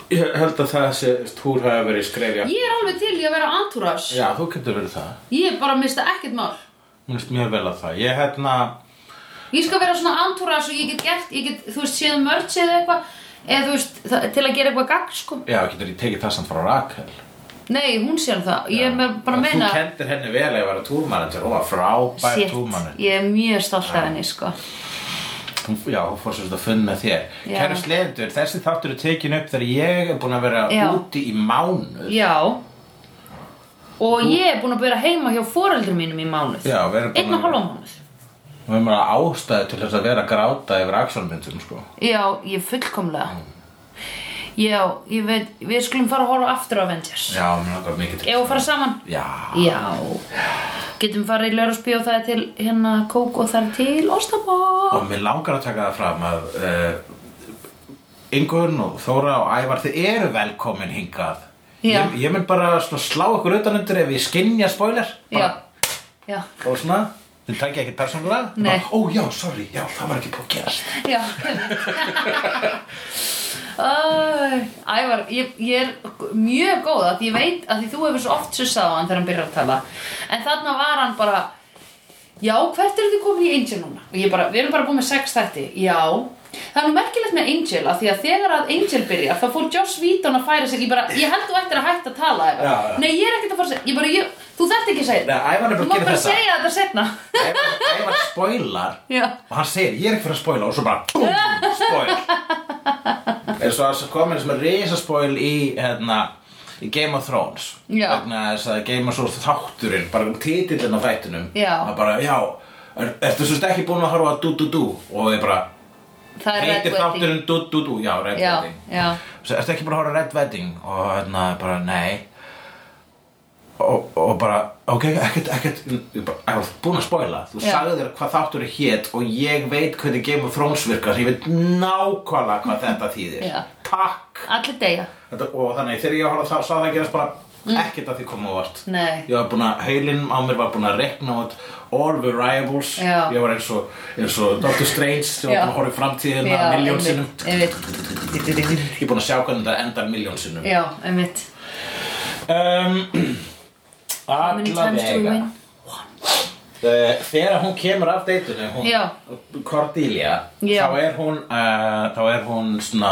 Ég held að þessi túr hafi verið skrefja Ég er alveg til í að vera antúrás Já, þú getur verið það Ég er bara að mista ekkert mál Mér finnst mjög vel að það Ég hérna, Ég skal vera svona antúrás og ég get gert ég get, Þú veist, séð mörg séð eitthvað Eða þú veist, það, til að gera eitthvað gagn sko já, getur ég tekið það samt frá Rakel Nei, hún sér um það Ég er með- bara að Og meina Þú kendir henni vel að ég var að túrmanager Hún var frábær Shit, túrmanager ég er mjög stolt af henni sko Hún- Já, hún fór svolítið að funn með þér Já. Kæru slendur, þessi þáttur er tekin upp þegar ég er búin að vera Já. úti í mánuð Já Og ég er búin að vera heima hjá foreldrum mínum í mánuð Já, við erum Einn og að halva mánuð Við erum að ástæðu til þess að vera að gráta yfir axolmyndum sko. Já, ég fullkomlega Já, ég veit, við skulum fara að horfa aftur á Avengers Já, mér langar mikið til Ef að fara saman Já, Já Getum farið í Lörðarsbí og það er til hérna kók og það er til Óstabó og mér langar að taka það fram að uh, Ingun og Þóra og Ævar þið eru velkomin hingað Já. ég, ég mun bara svona slá ykkur utan undir ef ég skinja spoiler bara, Já, já, og svona, þið takja ekki persónulega Nei. Bara, Ó já, sorry, já, það var ekki búið að gerast já Æ, Ævar, ég, ég er mjög góð að ég veit að því þú hefur svo oft sussað á hann þegar hann byrjar að tala En þarna var hann bara Já, hvert eru þið komin í Angel núna? Og ég bara, við erum bara búin með sex þætti Já Það er nú merkilegt með Angel að því að þegar að Angel byrjar þá fór Joss Whedon að færa sig ég bara, ég held þú eftir að hætta að tala Ævar. Já, já. Nei, ég er ekkert að fara að segja, ég bara, ég, þú þarft ekki að segja Nei, Ævar er bara Þú að mátt gera bara þetta. segja þetta setna Ævar spoilar Já. og hann segir ég er ekki fyrir að spoila og svo bara BOOM spoil eins og það komin sem er risa spoil í hérna í Game of Thrones Já. vegna þess að Game of Thrones þátturinn bara um titillinn á þættinum Já. að bara, já, er, ertu svo ekki búin að horfa að dú dú dú og þið bara Það er Red heitir Wedding þátturinn dú dú dú, já, Red Já, Wedding já, Svo ertu ekki bara að horfa á Red Wedding og hérna bara nei og, og bara ok, ekkert, ekkert ég bara, ég var búin að spoila, þú Já. sagðir hvað þáttur er hétt og ég veit hvernig Game of Thrones virkar, ég veit nákvæmlega hvað þetta þýðir, Já. takk allir deyja þetta, og þannig þegar ég horfði að sá það gerast bara ekkert að því koma ávart Mm. Nei, ég var búin að, heilin á mér var búin að rekna út all variables Já. ég var eins og, eins og Doctor Strange sem Já. var búin að horfa í framtíðina já, miljón Hérna sinnum einmitt, einmitt ég er búin að sjá hvernig þetta endar miljón sinnum Já, einmitt um, How many Alla times do we vega win? Eh, Þegar hún kemur af deytunni hún, Já. Cordelia Já. Þá er hún uh, Þá er hún svona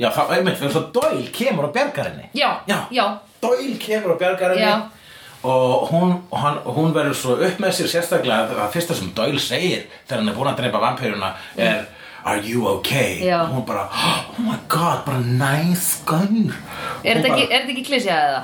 Já, þá einmitt, fyrir svo Doyle kemur á bjargarinni Já, já, já. Doyle kemur á bjargarinni Já. Og hún, og hann, og hún verður svo upp með sér sérstaklega að það fyrsta sem Doyle segir þegar hann er búin að dreipa vampiruna er Are you okay? Já. Og hún bara, oh my god, bara nice gun Er Hún þetta bara, ekki, er þetta ekki klísja eða?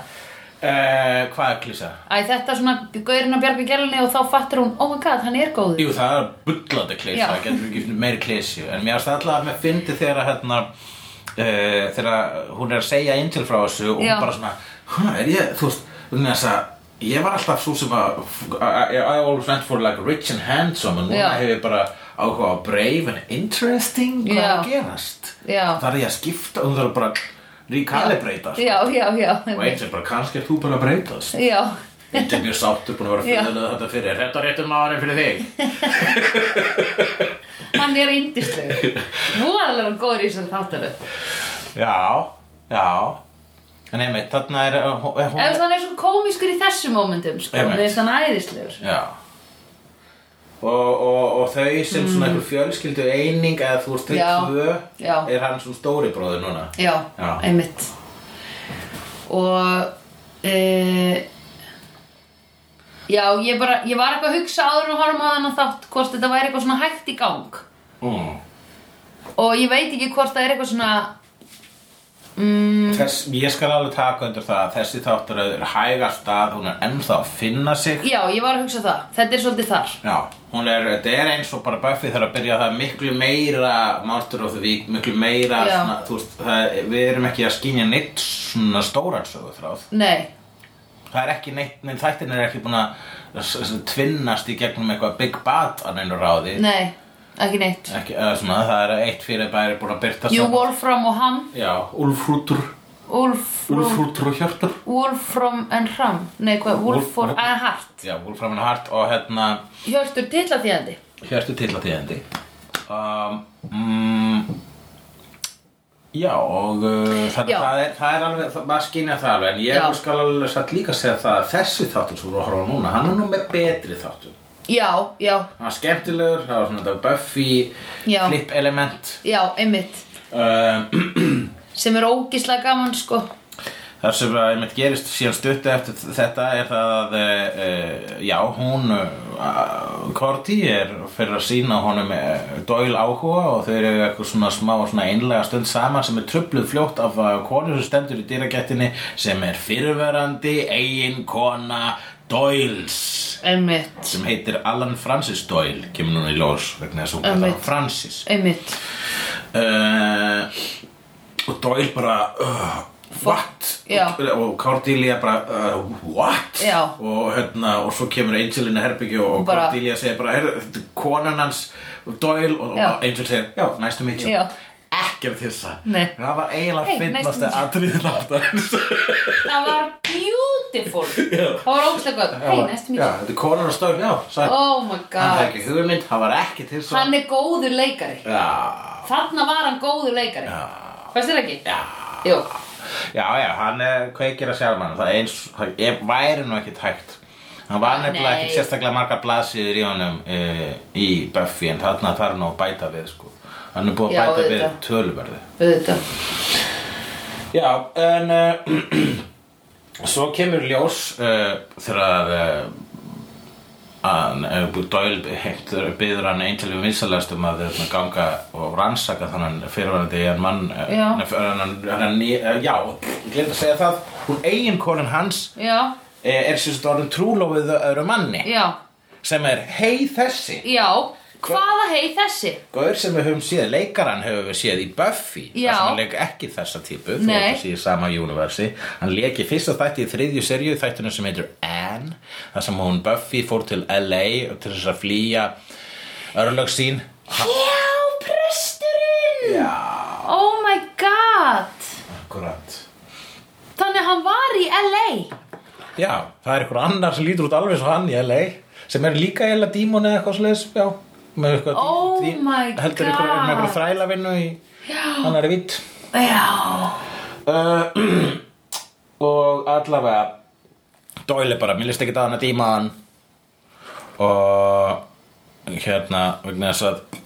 Eh, hvað er klísa? Æ, þetta er svona gaurinn að bjarga gælinni og þá fattir hún, oh my god, hann er góður. Jú, það er bullandi klísa, Já. það getur ekki meiri klísi En mér finnst alltaf að mér fyndi þegar að hérna uh, Þegar hún er að segja Angel frá þessu Og Já. hún bara svona, hvað er ég, þú veist Þú veist að ég var alltaf svo sem að I, I always went for like rich and handsome En núna Já. hef ég bara áhuga á brave and interesting Hvað er Já. að gerast Já. Það er ég að skipta, hún þarf bara að recalibrata sko. Já, já, já. Og Angel bara, kannski er þú bara að breytast Já, Þetta er mjög sáttur búin að vera Já. fyrir þetta fyrir Er Þetta réttum maðurinn fyrir þig hann er indislegur. Nú er alveg góður í þessum þáttaröð. Já, já En einmitt, þarna er, er hún Ef hann er svo komískur í þessum mómentum, sko, Einmitt. mér finnst hann æðislegur. Já Og, og, og þau sem svona einhver fjölskyldu eining eða þú ert þau Mm. Já, tvö já. er hann svona stóri bróður núna Já, Já. einmitt. Og, e, já, ég bara, ég var eitthvað að hugsa áður en að horfum á þennan þátt hvort þetta væri eitthvað svona hægt í gang. mm. Og ég veit ekki hvort það er eitthvað svona, mm, Þess, Ég skal alveg taka undir það að þessi þáttur er hægast að hún er ennþá að finna sig Já, ég var að hugsa það. Þetta er svolítið þar. Já, hún er, þetta er eins og bara Buffy þarf að byrja það er miklu meira Monster of the Week, miklu meira Já. svona, þú veist, það, við erum ekki að skynja neitt svona stóran sögutráð Nei, það er ekki neitt, neinn þættin er ekki búin að s- s- tvinnast í gegnum eitthvað big bad að neinu ráði nei, ekki neitt. ekki, eða svona, það er eitt fyrir bæri búin að byrta Jú, Wolfram og Ham. já, Úlfrútur Wolfram, Úlfrútur og Hjörtur Wolfram and Ram. Nei, hvað? Wolfram Wolf- and Hart. já, Úlframin og Hart og hérna Hjörtur tilla þýðandi. Hjörtur til að þýðandi um, mm, já, og uh, það, Já. það, er, það er alveg, það, maður skynja það alveg en ég Já. skal alveg satt líka segja það að þessi þáttur sem við horfum á núna, hann er nú með betri þáttur Já, já, hann var skemmtilegur, það var svona þetta Buffy Já. flip element já, einmitt. um, Sem er ógislega gaman, sko. þar sem að einmitt gerist síðan stuttu eftir þetta er það að uh, já, hún uh, Korti er fyrir að sína honum uh, Doyle áhuga og þau eru eitthvað svona smá svona einlega stund saman sem er trubluð fljótt af uh, konu sem stendur í dýragettinni sem er fyrirverandi eigin kona Doyles Einmitt, sem heitir Alan Francis Doyle kemur núna í ljós vegna þess að hún kallar Einmitt. hann Francis einmitt. uh, og Doyle bara uh, what? Já. Og, og Cordelia bara uh, what? Já. Og, hérna, og svo kemur Angel inn í herbyggju og Og bara- Cordelia segir bara "Heyrðu, þetta er konan hans Doyle og, Já. og Angel segir já, nice to meet you Já. ekkert þessa Nei. það var eiginlega Hey, hey, nice to finnast meet nice atriðin á Það var beautiful. Já. Það var ógislega gott. Hei, næstum já, ég. þetta er konan hans Doyle já, sagði, Oh my hann hefði god. ekki hugmynd það var ekki til svo Hann er góður leikari. já, Þarna var hann góður leikari. Hvað sér ekki? já Jú. Já, já, hann eh, kveikir að sjálf hann, það er eins, það er, væri nú ekkert hægt. Hann var nefnilega Nei. ekkert sérstaklega margar blaðsýður í honum e, í Buffy, en þarna þarf nú að bæta við, sko. Hann er búið Já, að bæta við auðvitað. töluverði. Auðvitað. Já, en eh, uh, svo kemur ljós uh, þegar að uh, eh, að eh, Doyle heimtur- biður hann eintilegu vinsalast um að þarna, ganga og rannsaka þannig fyrirvænandi eigin mann eh, Já. nei, fyrir hann, hann, hann, eh, já, ég glemt að segja það hún eiginkonin hans Já, eh, er sem sagt orðin trúlófið öðru manni já, sem er hei þessi já Hvaða hei þessi? Gaur sem við höfum séð, leikaran höfum við séð í Buffy þar Já. sem hann leik ekki þessa típu þó Nei. að sé í sama universi hann leik í fyrsta þætti í þriðju serju þættinu sem heitur Anne þar sem hún Buffy fór til LA til þess að flýja örlög sín Já, presturinn! Já, Oh my god! akkurat Þannig að hann var í LA Já, það er einhver annar sem lítur út alveg svo hann í LA sem er líka eða dímon eða eitthvað sliðis já, með eitthvað Oh dí- dí- my heldur einhver, God. með einhver þrælavinnu í hann er vitt Já uh, og allavega Doyle bara, mér líst ekki að hann að díma hann og hérna vegna þess að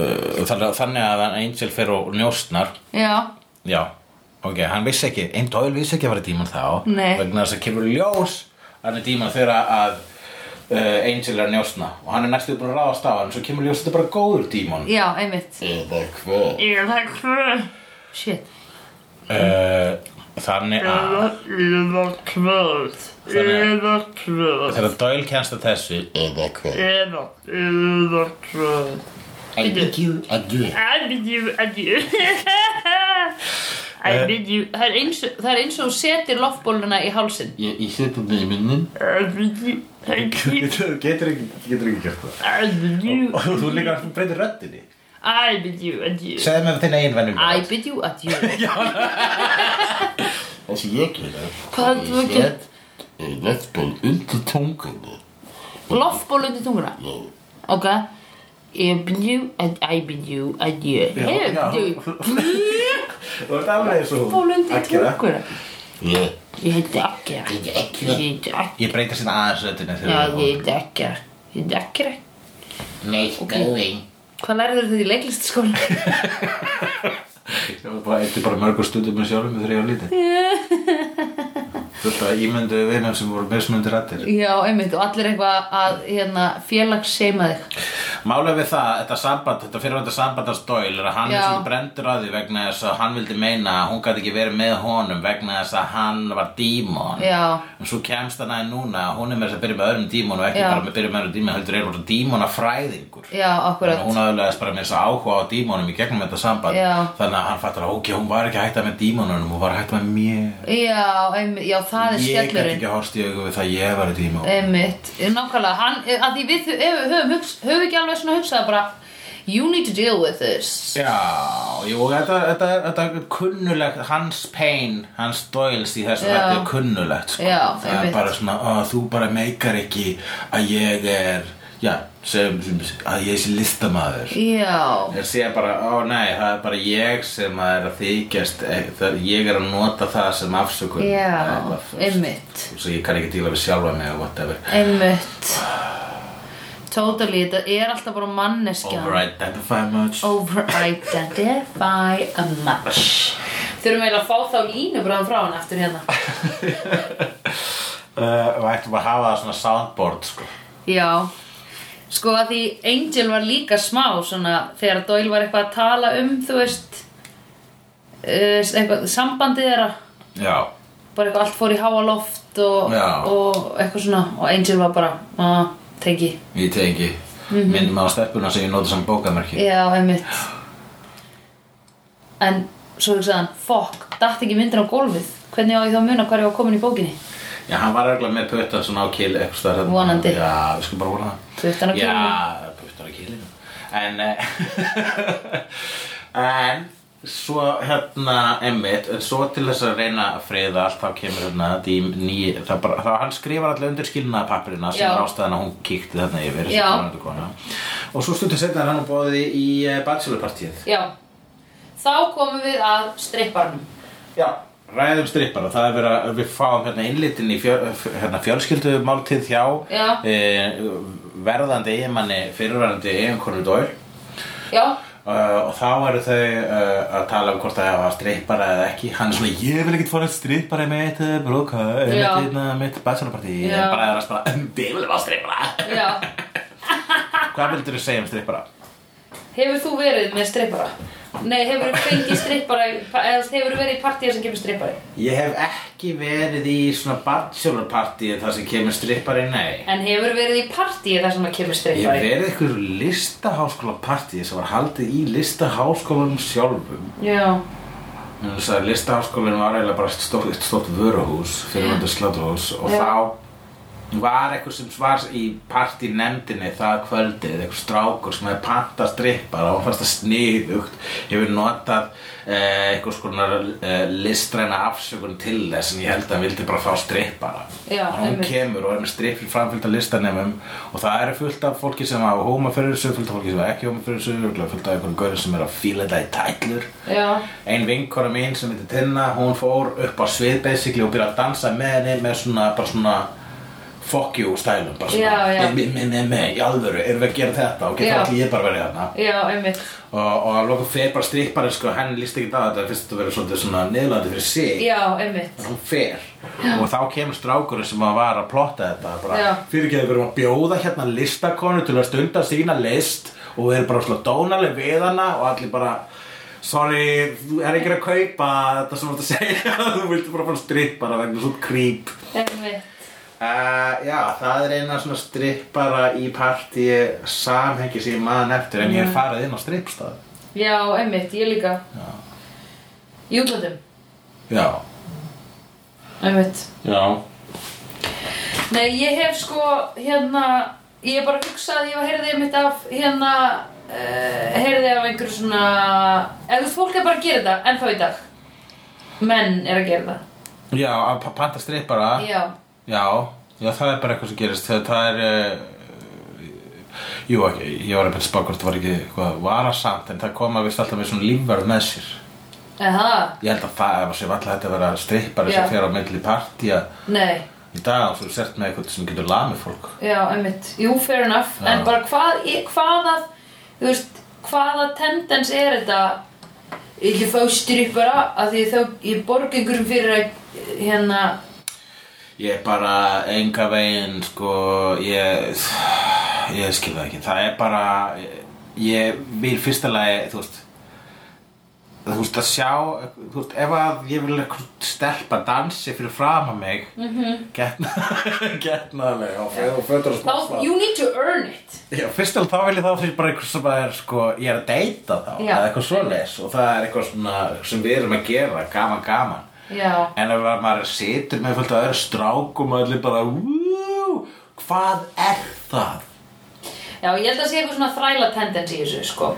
uh, þannig- þannig að hann Angel fer og njóstnar Já, já, ok, hann vissi ekki einn Doyle vissi ekki að vera díman þá Nei. vegna þess að kemur í ljós að hann er díman þegar að uh, Angel er að njóstna og hann er næstu búin að ráðast á hann svo kemur í ljós að þetta er bara góður díman já, einmitt eða hvað Ég er það hvað Shit Eh, þannig að Eða kvöld Þannig kvöld þegar Doyle kennst að þessu Eða hvað? Eða Eða kvöld I bid you adieu I bid you adieu I bid you Það er eins og, það er eins og þú setir loftbóluna í hálsin Ég, ég seti það í munnin. I bid you adieu getur ekki, getur ekki gert það I bid you og þú líka að breytir röddinni I bid you adieu segðu mér þinn eigin vennum I bid you adieu Það sem ég gera. Hvað er þú að gera? set, eh, Loftból undir tungunni. Loftból undir tunguna Ok I bid you I bid you adieu I já. bid you þú ert alveg eins og Loftból undir tunguna Ég, Ég heiti Akkera Ég ég ekki. heiti Akkera ég breytir sinna aðeins röddinni Já, þegar ég heiti Akkera Ég heiti Akkera Nice Ok. going. Hvað lærður þetta í leiklistaskóla? ég var bara eitthi bara mörgur stundum með sjálfum þegar ég var lítið þú ert að ímyndu vinnar sem voru mismunandi rættir Já, einmitt, og allir eitthvað að hérna, félags seima þig Málega við það, þetta samband, þetta fyrirvændi samband hans Doyle er að hann Já. er svona brendur að því vegna þess að hann vildi meina að hún gæti ekki verið með honum vegna þess að hann var dímon Já. en svo kemst hann aðeins núna að hún er með þess að byrja með öðrum dímon og ekki Já. bara með byrja með öðrum dímon heldur er bara dímonafræðingur Já, akkurat Þannig að hún aðurlegaðist bara með þess að áhuga á dímonum í gegnum þetta samband Já. þannig að hann fattar að ok, hún var ekki að hætta með dímonunum hún var að hætta með mér Já, einmitt, já, það er ég gæti skellurinn ekki að horfst í augu við það að ég var dímon Einmitt, nákvæmlega hann, að því við þau- ef við höfum, hugs, höfum ekki alveg svona hugsað bara You need to deal with this Já, jú, þetta, þetta, þetta er kunnulegt, hans pain, hans doils í þessu, Já. þetta er kunnulegt, sko. Já, það er einmitt. bara svona, ó, þú bara meikar ekki að ég er, já, sem, sem, að ég sé listamaður. Já, Ég sé bara, ó nei, það er bara ég sem að er að þykjast, eh, það, ég er að nota það sem afsökun. eða já, eitthvað. einmitt Svo ég kann ekki díla við sjálfa mig og whatever. Einmitt Totally, þetta er alltaf bara manneskja Over-identify much. Over-identify a much Þurfum eiginlega að fá þá línu bara frá hann eftir hérna Uh, og ættum að hafa það svona soundboard, sko. Já Sko að því Angel var líka smá svona þegar Doyle var eitthvað að tala um þú veist eh, eitthvað, sambandið þeirra Já. bara eitthvað allt fór í háa loft og, Já. og eitthvað svona og Angel var bara að teki Ég teki mm Mhm. -hmm. minnum á steppuna sem ég nota sem bókamerki Já, einmitt En svo hugsaði hann Fuck, datt ekki myndin á gólfið Hvernig á ég þá að muna hvað ég var komin í bókinni Já, hann var regla með putta svona á kýl eitthvað staðar þarna. Vonandi. Já, við skulum bara vona það Puttan á Já, puttan á kýlinu En eh, En Svo hérna einmitt En svo til þess að reyna að friða allt Þá kemur hérna dým ný Það, bara, það hann skrifar allir undir skilnaða pappirina Sem Já. er ástæðan að hún kíkti þarna yfir þessi Já. kona- kona. Og svo stundum setna hann og bóði í eh, bachelorpartíð Já Þá komum við að stripparnum Já, ræðum strippara, það er verið að við fáum hérna innlitin í fjör, hérna, fjölskyldumáltíð hjá Já. e, verðandi eiginmanni, fyrirverðandi eiginkonu dór Já, Uh, og þá eru þau uh, að tala um hvort það var strippara eða ekki hann er svona, ég vil ekkert fóra strippara í mitt uh, brúka, mitt, Já. hérna, mitt bachelorpartí, ég Já. er bara að spara um, við viljum að strippara Já. hvað vildur þú segja um strippara? Hefur þú verið með strippara? Nei, hefur þú fengið strippara í- eða hefur þú verið í partíu sem kemur strippari? ég hef ekki verið í svona bachelorpartí þar sem kemur strippari, nei En hefur þú verið í partíu þar sem það kemur Ég hef strippari? verið eitthvað listaháskóla partí sem var haldið í listaháskólanum sjálfum Já. En þess að listaháskólinn var eiginlega bara stórt, eitt stórt vöruhús, fyrirvöndu sláturhús og Já. þá var eitthvað sem var í partinefndinni það kvöldið, eitthvað strákur sem hefði pantað strippar og hann fannst það sniðugt hefur notað eh, eitthvað skona eh, listræna afsökun til þess en ég held að hann vildi bara fá strippara Já, og hún einmitt. kemur og er með strippir framfylgd að listanemum og það eru fullt af fólki sem hafa hóma fyrir þessu, fullt af fólki sem hafa ekki hóma fyrir þessu örugglega fullt af einhverjum gaurin sem er að fíla þetta í tætlur Já. ein vinkona mín sem heitir Tinna hún fór upp á svið basically og byrjaði að dansa með henni með svona, bara svona fuck you stælum bara svona, Já, já. nei, nei, nei, nei, í alvöru, erum við að gera þetta ok, Já. þá ætlum ég bara að vera hérna Já, einmitt. og, og að loka fer bara strippari sko, henni líst ekki á þetta, fyrst þetta verið svolítið svona niðurlandi fyrir sig Já, einmitt. En hún fer og þá kemur strákurinn sem að var að plotta þetta bara, Já. fyrir ekki að við erum að bjóða hérna listakonu til að stunda sína list og við erum bara svona dónaleg við hana og allir bara sorry, þú er ekki að kaupa þetta sem þú ert að segja þú vildi bara fara að strippara vegna svona creep Einmitt. uh, já, það er eina svona strippara í partí samhengi sem ég maðan eftir en ég Mhm. er farið inn á strippstað Já, einmitt. Ég líka. Já. Í útlöndum. já, Einmitt. já Nei, ég hef sko, hérna, ég hef bara hugsað, ég var heyrðið mitt af, hérna, uh, heyrðið af einhverju svona, eða fólk er bara að gera þetta, ennþá í dag. Menn er að gera þetta. já, að pa- panta strippara Já, Já, já, það er bara eitthvað sem gerist þegar það er uh, Jú, ekki, ég var einhvern spákvort það var ekki eitthvað varasamt en það kom að vist alltaf með svona lífverð með sér eða, Ég held að það var sér alltaf þetta að vera strippari Já. sem fer á milli partíja nei, í dag og svo er sért með eitthvað sem getur lamið fólk já, einmitt, jú, fair enough, Já. en bara hvað, í- hvaða, þú veist, hvaða tendens er þetta, ég ekki fá strippara, að því þá, ég borga einhverjum fyrir að, hérna, Ég er bara enga veginn sko, ég ég skil það ekki, það er bara ég vil fyrsta lagi þú veist þú veist að sjá, þú veist ef að ég vil eitthvað stelpa dansi fyrir fram að mig mm -hmm. getna, getnaðlega og föður- og fötur og Mhm. þá, you need to earn it. Já, fyrst alveg þá vil ég þá fyrir bara eitthvað sem að er sko, ég er að deyta þá Já. eða eitthvað svoleiðis og það er eitthvað svona sem við erum að gera, gaman gaman Já, En ef að maður situr með fullt að öðru strákum og allir bara "Wú, Hvað er það? já, ég held að sé eitthvað svona þræla tendens í þessu, sko.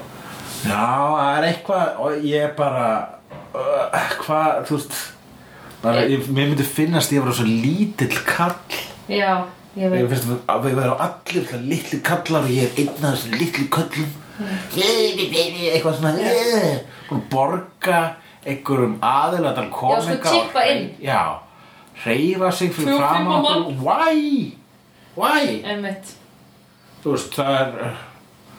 Já, það er eitthvað og ég er bara uh, Hvað, þú veist bara, ég, Mér myndi finnast ég vera svo lítill kall Já, ég Ég veit. finnst að við verðum allir það litli kallar og ég er einn af þessum litli köllum Baby, baby, eitthvað svona "Eh", og borga einhverjum aðeins að koma Já, sko, tippa inn. Já, reyfa sig Tvö fyrir og fram fimm á okkur Why? Why? Einmitt. Þú veist, það er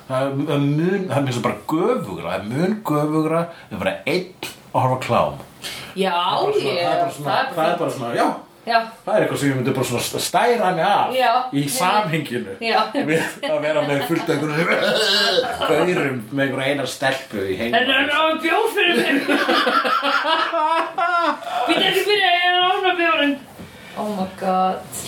það er það er mun, það er mér svo bara göfugra það er mun göfugra, það er bara einn og horfa á klám Já, Bara svona- ég, það er bara svona, það er bara svona, já Já, Það er eitthvað sem ég myndi bara svona stæra mig af Já. í samhenginu Já. við að vera með fullt af einhverjum gaurum með einhverja einar stelpu í heim en það er náðu bjóð fyrir mig. Býta ekki fyrir að ég er ána bjóðin. Oh my god.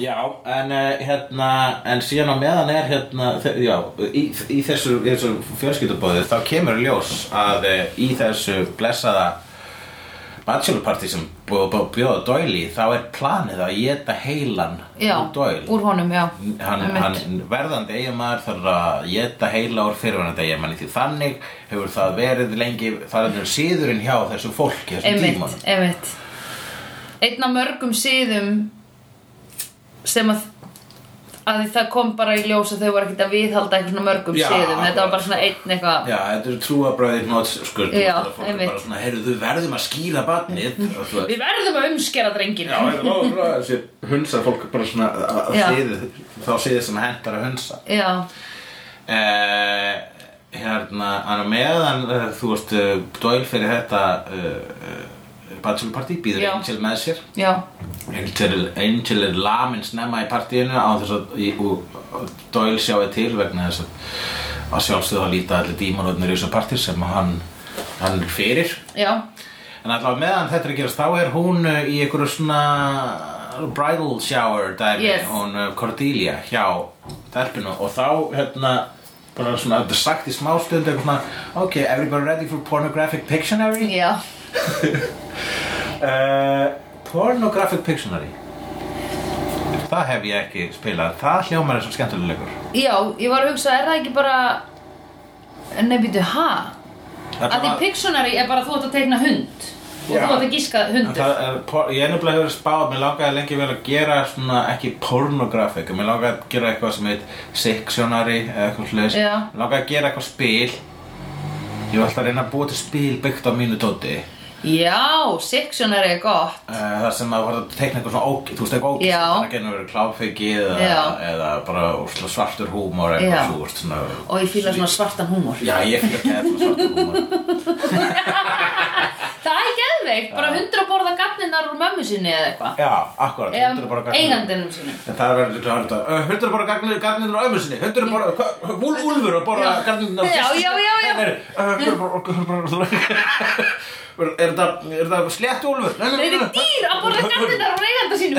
Já, en eh, hérna en síðan á meðan er hérna þe- já, í, í þessu, í þessu fjölskyldubóði þá kemur í ljós að eh, í þessu blessaða bachelorparti sem bú- bú- bjóða Doyle í þá er planið að geta heilan Já, úr Doyle úr honum, já. hann, Einmitt. hann verðandi eiginmaður þarf að geta heila úr fyrirverandi eiginmanni því þannig hefur það verið lengi þar er síðurinn hjá þessu fólki þessum tímanum Einmitt, einmitt. Einn af mörgum síðum sem að að því það kom bara í ljós að þau voru ekkert að viðhalda einhvern svona mörgum Já, síðum. Þetta var akkurat. bara svona einn eitthvað. Já, þetta eru trúabræðir nóts sko, Já, þú veist, að fólk er einmitt. bara svona, heyrðu, þú verðum að skýra barnið og þú veist, Við verðum að umskera drenginu. Já, þetta var svona þessi hunsa fólk bara svona að Já. síðu þá síðu sem hentar að hunsa Já, eh, hérna, hann á meðan uh, þú veist, uh, Doyle fyrir þetta uh, uh, bachelor party býður Já. Angel með sér já, Angel, Angel er lamin snemma í partíinu á þess að í, og, og Doyle sjáði til vegna þess að að sjálfsögðu að líta allir dímanotnir í þessu partí sem hann, hann er fyrir já, En allavega meðan þetta er að gerast þá er hún uh, í einhverju svona bridal shower dæmi Yes. hún uh, Cordelia hjá telpinu og þá hérna bara svona, þetta er sagt í smástund eitthvað svona ok, everybody ready for pornographic pictionary? já Uh, pornographic pictionary Það hef ég ekki spilað, það hljómar er svo skemmtilegur Já, ég var að hugsa, er það ekki bara Nei, býtu, ha? Að því Pictionary er bara þú ert að teikna hund og þú Já. ert að gíska En hundur það er, por- ég er nefnilega hefur spáð, mér langaði lengi vel að gera svona, ekki pornografik, mér langaði að gera eitthvað sem heit Sictionary eða eitthvað slags, Já. mér langaði að gera eitthvað spil, ég var alltaf að reyna að búa til spil byggt á mínu dóti, Já, Sictionary er gott uh, þar sem að voru að teikna eitthvað svona ógið, þú veist eitthvað ógið, Já. það er genið að vera kláfiki eða, Já. eða bara ósla svartur húmor Já. eitthvað svo, svona, Og ég fíla svona svartan húmor já ég fyrir að kæða svartur húmor. Það er geðveikt, bara hundur að borða gatninnar úr mömmu sinni eða eitthvað Já, akkurat, hundur er bara Eða gagnrýnir. eigandinum sinni En það verður líklega að hluta "Ö, Hundur er bara garninir á ömur sinni Hundur er bara, hva- úl, úlfur og bara garninir á Já, fyrstu- já, já, já. Nei, nei, "Ö, Hundur er bara, hundur er bara Er það, er það slétt úlfur? Nei, Nei, þetta er dýr að borða gatninnar úr eiganda sínum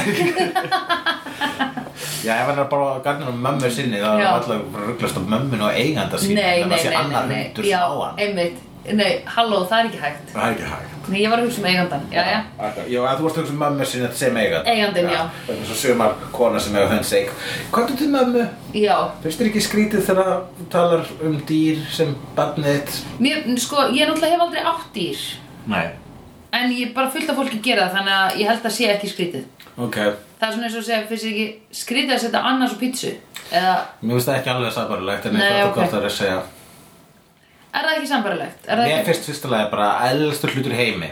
Já, ef hann er bara garninir á mömmu sinni Það er Já. alltaf bara rugglast á mömmun og eiganda sinni Nei, nei, nema nei, sé nei, annar hundur nei sem Já, á hann einmitt Nei, halló, það er ekki hægt Það er ekki hægt Nei, ég var að hugsa um eigandan, já, já Akkurat. Já, að þú varst að hugsa um mömmu sinni sem eigandi Eigandinn, já. Þannig svo sumar kona sem hefur hund seg Hvað er til mömmu? Já, Finnst þér ekki skrítið þegar þú talar um dýr sem barnið? mér, sko, ég náttúrulega hef aldrei átt dýr Nei. En ég er bara fullt af fólki að gera það, þannig að ég held að sé ekki skrítið. Ok. Það er svona eins og að segja, finnst þér ekki skrítið að setja annars á pítsu? Eða, Mér finnst það ekki alveg sabarlegt en ég Nei, fattu ok. okay. hvort það er að segja. er það ekki sambarlegt? Er það Mér ekki... finnst fyrst að bara eldstur hlutur í heimi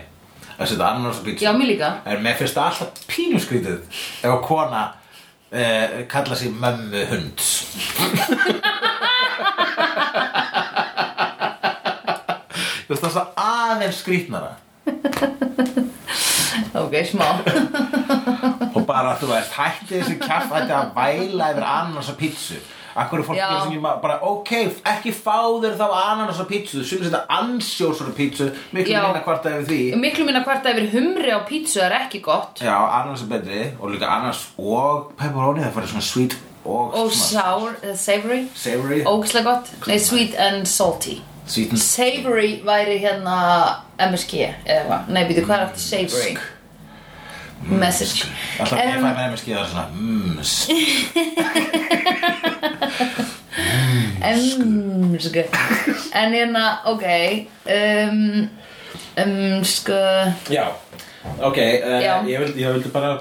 að setja annars á pítsu. Já, mér líka. En mér finnst það alltaf pínuskrítið ef að kona eh, kalla sig mömmu hund. Þú veist það er svo aðeins skrítnara. Ok, smá. Og bara, þú veist, hætti þessi kjart hætti að væla yfir ananas á pítsu Akkur er fólk Já. að gera sem ég ma- bara, ok, ekki fá þér þá ananas á pítsu Sumir setja ansjósur á pítsu, miklu Já. minna kvarta yfir því Miklu minna hvarta yfir humri á pítsu er ekki gott. Já, ananas er betri og líka ananas og pepperoni Það fyrir svona sweet og Og svona sour, uh, savory, savory ógislega gott. Nei, sweet and salty. Sweet and Savory væri hérna MSG eða hvað. Nei, býtu, hvað er aftur savory? Message. Alltaf um, ég Em, fæ með mér skýða svona Mmm, sk- Um, sko. En hérna, ok um, um, sko Já, ok, uh, Já. Ég, vildi, ég vildi bara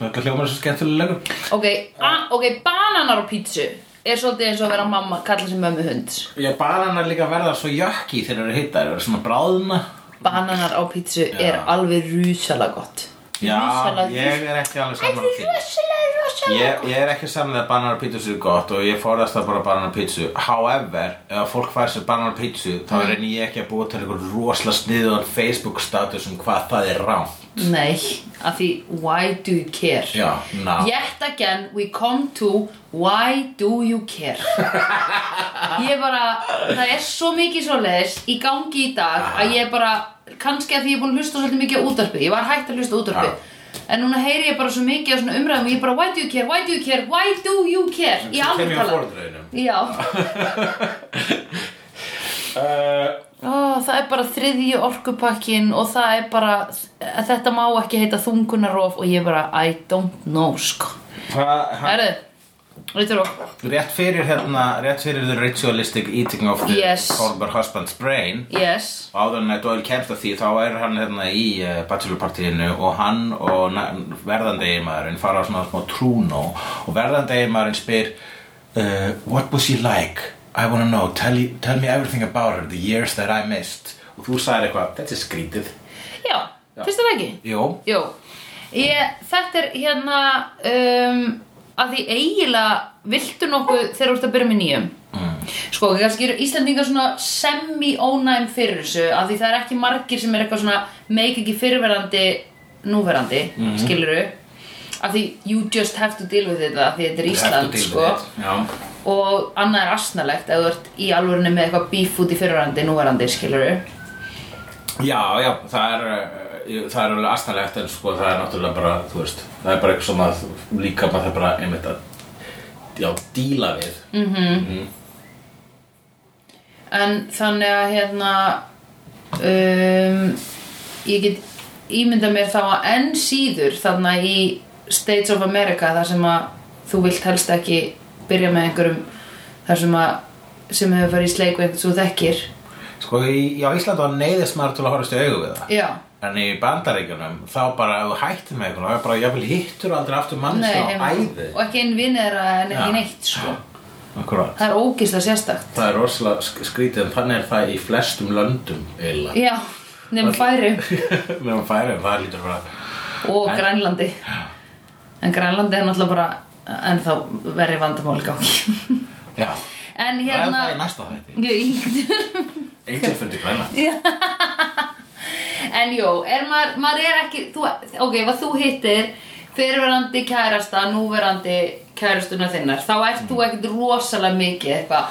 Þetta hljómar svo skemmtilega Ok, a, ok, bananar á pítsu er svolítið eins og að vera mamma kalla sem mömmu hund Já, bananar líka verða svo jökki þegar þeir eru hittar, þeir eru svona bráðna Bananar á pítsu er alveg rúsalega gott Já, Rússalega- ég er ekki alveg saman á því Rúsalega, rúsalega ég, ég er ekki saman að bananar pítsu séu gott og ég forðast það bara bananar pítsu However, ef fólk fær sér bananar pítsu þá reynir ég ekki að búa til einhver rosla sniðan Facebook status um hvað það er rám Nei, af því why do you care? Já, ná Yet again we come to why do you care? Ég bara, það er svo mikið svoleiðis í gangi í dag að ég bara, kannski að því ég er búin að hlusta svolítið mikið á útvarpið, ég var hægt að hlusta á útvarpið En núna heyri ég bara svo mikið á svona umræðum og ég bara why do you care, why do you care, why do you care Ég Svo aldrei kem að tala foreldraunum. Já, Uh, Ó, það er bara þriðji orkupakkin og það er bara, þetta má ekki heita þungunarof og ég bara I don't know sko Hvað, hann Herðu, reytur okkur Rétt fyrir hérna, rétt fyrir the ritualistic eating of the Yes. former husband's brain Yes, og áður en að Doyle kemst að því þá er hann hérna í uh, bachelorpartíinu og hann og na- verðandi eiginmaðurinn fara á svona smá trúnó og verðandi eiginmaðurinn spyr uh, What was she like? I wanna know, tell, you, tell me everything about her, the years that I missed og þú sagðir eitthvað, þetta er skrítið já, finnst það ekki? Jó, Jú, ég, þetta er hérna um, að því eiginlega viltu nokkuð þegar þú ert að byrja með nýjum Sko, kannski eru Íslendingar svona semi-ónæm fyrir þessu af því það er ekki margir sem er eitthvað svona make ekki fyrrverandi núverandi, mm skiluru af því you just have to deal with it af því þetta er Ísland, sko Já, og annað er asnalegt ef þú ert í alvörinu með eitthvað bíf út í fyrrverandi núverandi, skiluru já, já það er eh, það er alveg astanlegt en sko það er náttúrulega bara, þú veist það er bara eitthvað sem að líka maður það bara einmitt að já, díla við En þannig að hérna um, ég get ímyndað mér þá að enn síður þarna í States of America þar sem að þú vilt helst ekki byrja með einhverjum þar sem að sem hefur farið í sleik við einhvern svo þekkir Sko, í, já, Ísland var neyðist maður til að horfast í augu við það Já, En í bandaríkjunum, þá bara ef þú hættir með einhvern, þá er bara, jafnvel hittur aldrei aftur mannstu nei, á einmitt. æði og ekki einn vinni þeirra en Sko, Já. ekki neitt sko. Akkurat Það er ógislega sérstakt Það er rosalega sk- skrítið, en þannig er það í flestum löndum eiginlega Já, nefnum færum Meðan færum, það lítur bara og Grænlandi En Grænlandi er náttúrulega bara ennþá verri vandamál í gangi Já, En það er hérna það í næsta þætti Jú, Eitir fundi græna en jú, er maður, maður er ekki þú, ok, ef að þú hittir fyrirverandi kærasta, núverandi kærastuna þinnar, þá ert þú ekkert rosalega mikið eitthvað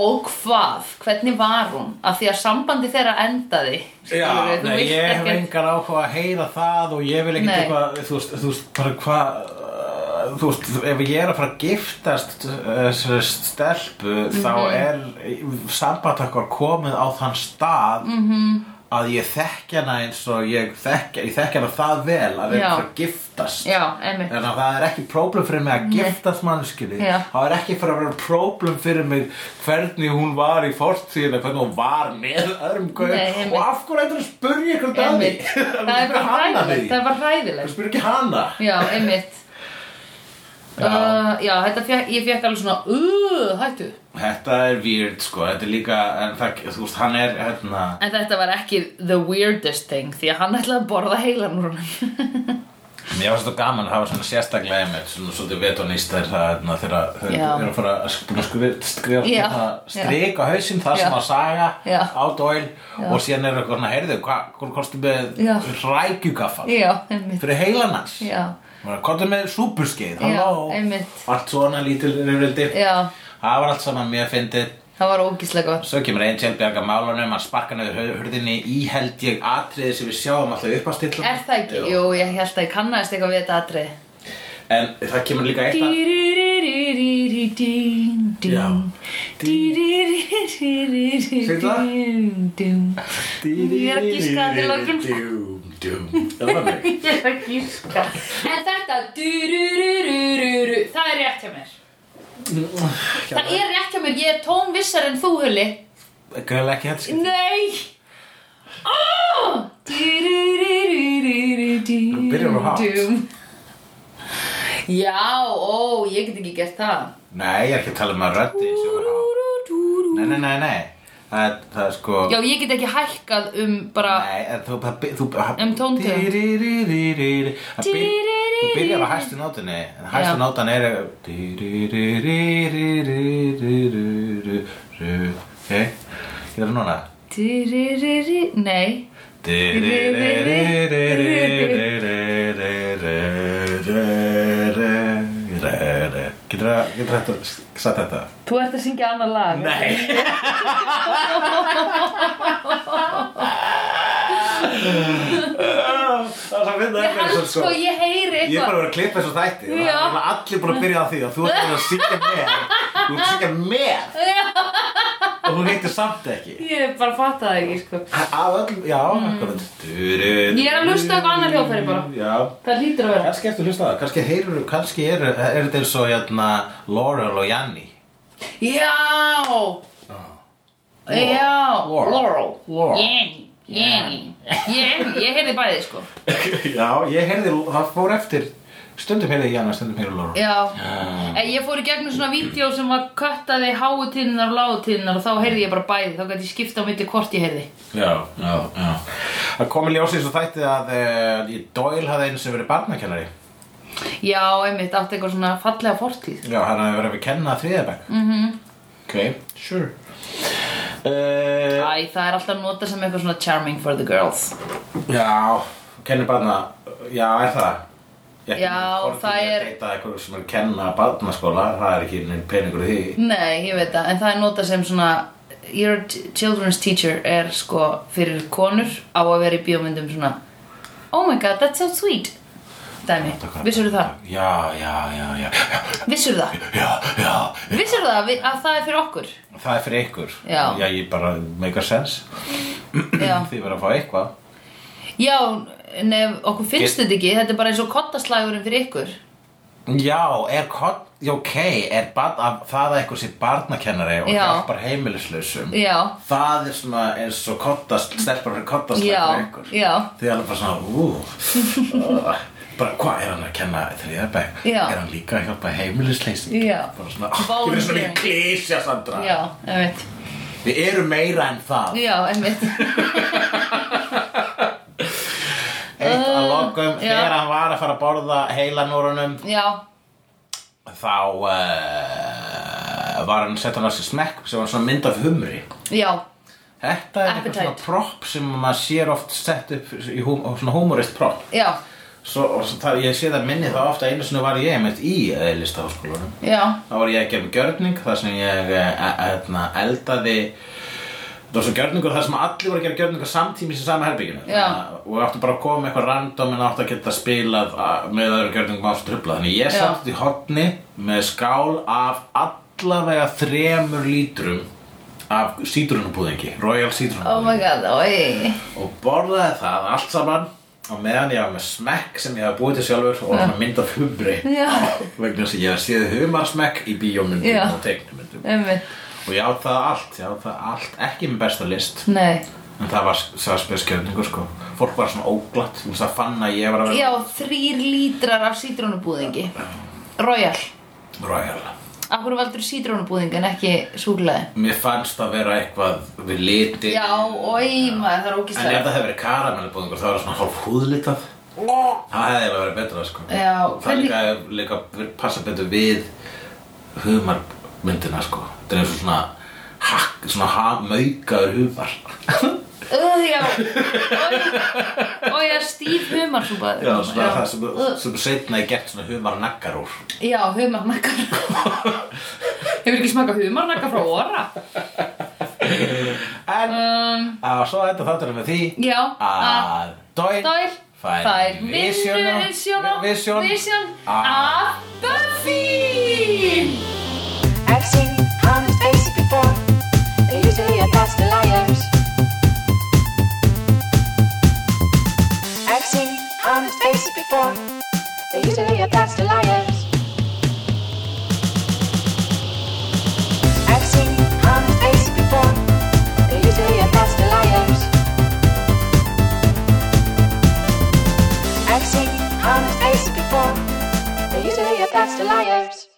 og hvað, hvernig var hún af því að sambandi þeirra endaði Já, skilurðu, þú nei, vilt ég hef ekkert- engan áhuga að heyra það og ég vil ekkert Nei. eitthvað, þú veist, þú veist, bara hvað uh, þú veist, ef ég er að fara að giftast uh, þessari stelpu þá Mhm. er samband okkar komið á þann stað -hmm. Mhm. að ég þekki hana eins og ég þekki, ég þekki hana það vel að við Já. erum að fara að giftast Já, einmitt Þannig að það er ekki próblem fyrir mig að giftast mannskili Já. Það er ekki fyrir að vera próblem fyrir mig hvernig hún var í fortíðin eða hvernig hún var með öðrum gauð Nei, einmitt. og af hverju eitthvað að spurja ykkur dæmi Einmitt. Það er bara hræðilegt, það er bara hræðilegt spurja ekki hana Já, einmitt Já. Uh, já, þetta fekk, ég fekk alveg svona uh, hættu, Þetta er weird sko, þetta er líka en það, þú veist, hann er hérna en þetta var ekki the weirdest thing, því að hann ætlaði að borða heilan úr honum Mér var svolítið gaman að hafa svona sérstaklega einmitt svona svolítið vetonýstar það hérna, þegar þau Já. eru að fara að sk- búin að skrifa, skrifa Já. hérna, strik á hausinn þar sem Já. að saga Já. á dóil og síðan eru eitthvað svona, heyrðu, hvað hva, kostu með Já. rækjugaffal Já, einmitt fyrir heilans hans Já, Hvað er með súpurskeið, Já, halló einmitt. allt svona lítil rifrildi Já. það var allt saman mjög fyndið það var ógíslega gott Svo kemur Angel bjarga málunum að sparka nöður hurðinni í held ég atriði sem við sjáum alltaf upp á stillan Er það ekki? Jú, ég held að ég kannaðist eitthvað við þetta atrið En það kemur líka eitt að Já. Ég er að gíska að þetta er lokun Dúm, dúm. Það var mig. Ég er að gíska En þetta dúrururururu, Það er rétt hjá mér Það er rétt hjá mér, ég er tónvissar en þú hulli Gæla ekki hætt skil Nei oh! Dúrururururu Byrjar nú hátt. Dúm. Já, ó, ég get ekki gert það Nei, ég er ekki að tala um að röddi eins og var á Dúrurururu. Nei, nei, nei, nei Það er, það er sko Já, ég get ekki hækkað um bara Nei, en þú, það, by- þú það- Um tóntegund. Dýrýrýrýrýrý. Það byr- Þú byrjar á hæstu nótunni En hæstu Já. nótan er Dýrýrýrýrýrýrýrýrýrýrý Ok, getur núna Dýrýrýrý Nei Dýrýrýrýrýrýrýrýrýrýrýrýrýrýrýrýrýrýrýrý Getur það, getur þetta, satt þetta? Þú ert að syngja annar lag Nei Það er svo fyndið Ég hann sko, ég heyri Ég er eitthvað bara að vera að klippa þessu þætti og Já. það er allir búin að byrja á því að þú ert búin að syngja með Þú ert að syngja með og hún heitir samt ekki Ég er bara að fatta það ekki, sko Af öllum, já mm. Ég er að hlusta á eitthvað annað hljóðfæri bara. Já Það hlýtur að vera Kannski ertu að hlusta á það, kannski heyrur, kannski er, er þetta eins og hérna Laurel og Janni Já Já Laurel. Laurel. Jenny Jenny Jenny, ég heyrði bæði, sko Já, ég heyrði, það fór eftir stundum heyrði ég Janna, stundum heyrði Laurel Já, En ég fór í gegnum svona vídeo sem var köttaði háu tíðnar og lágu tíðnar og þá heyrði ég bara bæði, þá gæti ég skipta á milli hvort ég heyrði Já, já, já Það komið ljósið svo þætti að uh, Doyle hafði einu sem verið barnakennari Já, einmitt, átti eitthvað svona fallega fortíð Mhm. Já, hann hafði verið að kenna þriðabæk mm -hmm. Ok, sure uh, Æ, það er alltaf nota sem eitthvað svona charming for the girls Já, kennir barna Já, er það Ég Já, það Ég er- deyta eitthvað sem er að kenna barnaskóla Það er ekki neinn peningur í því Nei, ég veit það, en það er nota sem svona Your t- children's teacher er sko fyrir konur á að vera í bíómyndum svona Oh my god, that's so sweet Dæmi, vissur það? Já, já, já, já Já, Vissur það? já, já Vissur það vi- að það er fyrir okkur? Það er fyrir ykkur Já. já ég bara make a sense Já, Þið verða að fá eitthvað Já nef, okkur finnst Get- þetta ekki, þetta er bara eins og kottaslægurinn fyrir ykkur Já, er kott já, Ok, er barn, að, það að eitthvað sér barnakennari og Já. hjálpar heimilislausum Já. Það er svona eins og kottast, stelpar fyrir kottast Já, ykkur já, Þið er alveg bara svona, ú, uh, bara hvað er hann að kenna þriðarbæk? Já. Er hann líka að hjálpa heimilisleysingi? Já. Bara svona, Volunteering. ég finnst svona í klísja, Sandra. já, einmitt Við erum meira en það. Já, einmitt Eitt að Uh, lokum, já. þegar hann var að fara að borða heilanúrunum, Já, þá uh, var hann sett hann á sig smekk sem var svona mynd af humri. já, Þetta er eitthvað svona Appetite. prop sem maður sér oft sett upp í hum, svona humorist prop. já, Svo, og svo það, ég sé það minni það ofta einu sinni var ég einmitt í listaháskólanum. já, þá var ég að gera gjörning þar sem ég eh, eh, hérna, eldaði það var svo gjörningur þar sem allir voru að gera gjörningur samtímis í sama herbygginu Já. og við áttum bara að koma með eitthvað random en áttu að geta spilað að- með öðru gjörningum áttu trubla þannig ég Já. satt út í hotni með skál af allavega þremur lítrum af sítrunubúðingi, Royal oh sítrunubúðingi my god, oi og borðaði það allt saman og meðan ég var með smekk sem ég hafði búið til sjálfur og svona mynd af humri Já, vegna þess að ég hef séð humarsmekk í bíómyndum Já. og teiknumyndum einmitt og ég átt það allt, ég átt það allt ekki með besta list Nei, en það var, það var spesskjöfningu sko fólk var svona óglatt, þú veist það fann að ég var að já, þrýr lítrar af sítrónubúðingi Royal royal Akkur valdur sítrónubúðing en ekki súklaði mér fannst það vera eitthvað við liti Já, oi, maður, það er en ef ógislega það hefði verið karamellbúðingur það var svona hálf húðlitað það hefði alveg verið betra sko Já, það hvernig- líka, líka passa betur við humarmyndina sko það er eins og svona hakk, svona ha, maukaður humar Öð, já, oi Oi, já, stíf humarsúpaður Já, svona það sem, Uh. sem setna er gert svona humar naggar úr Já, humarnakkar Hefur ekki smakað humarnakkar frá orra? En Um, á, Uh. svo enda þátturinn með því já, að að Dóil Dóil fær visjóna- visjón visjón Visjón að Að Buffy I've seen honest faces before. They're usually a pass to liars. I've seen honest faces before. They're usually a pass to liars. I've seen honest faces before. They're usually a pass to liars. I've seen honest faces before. They're usually a pass to liars.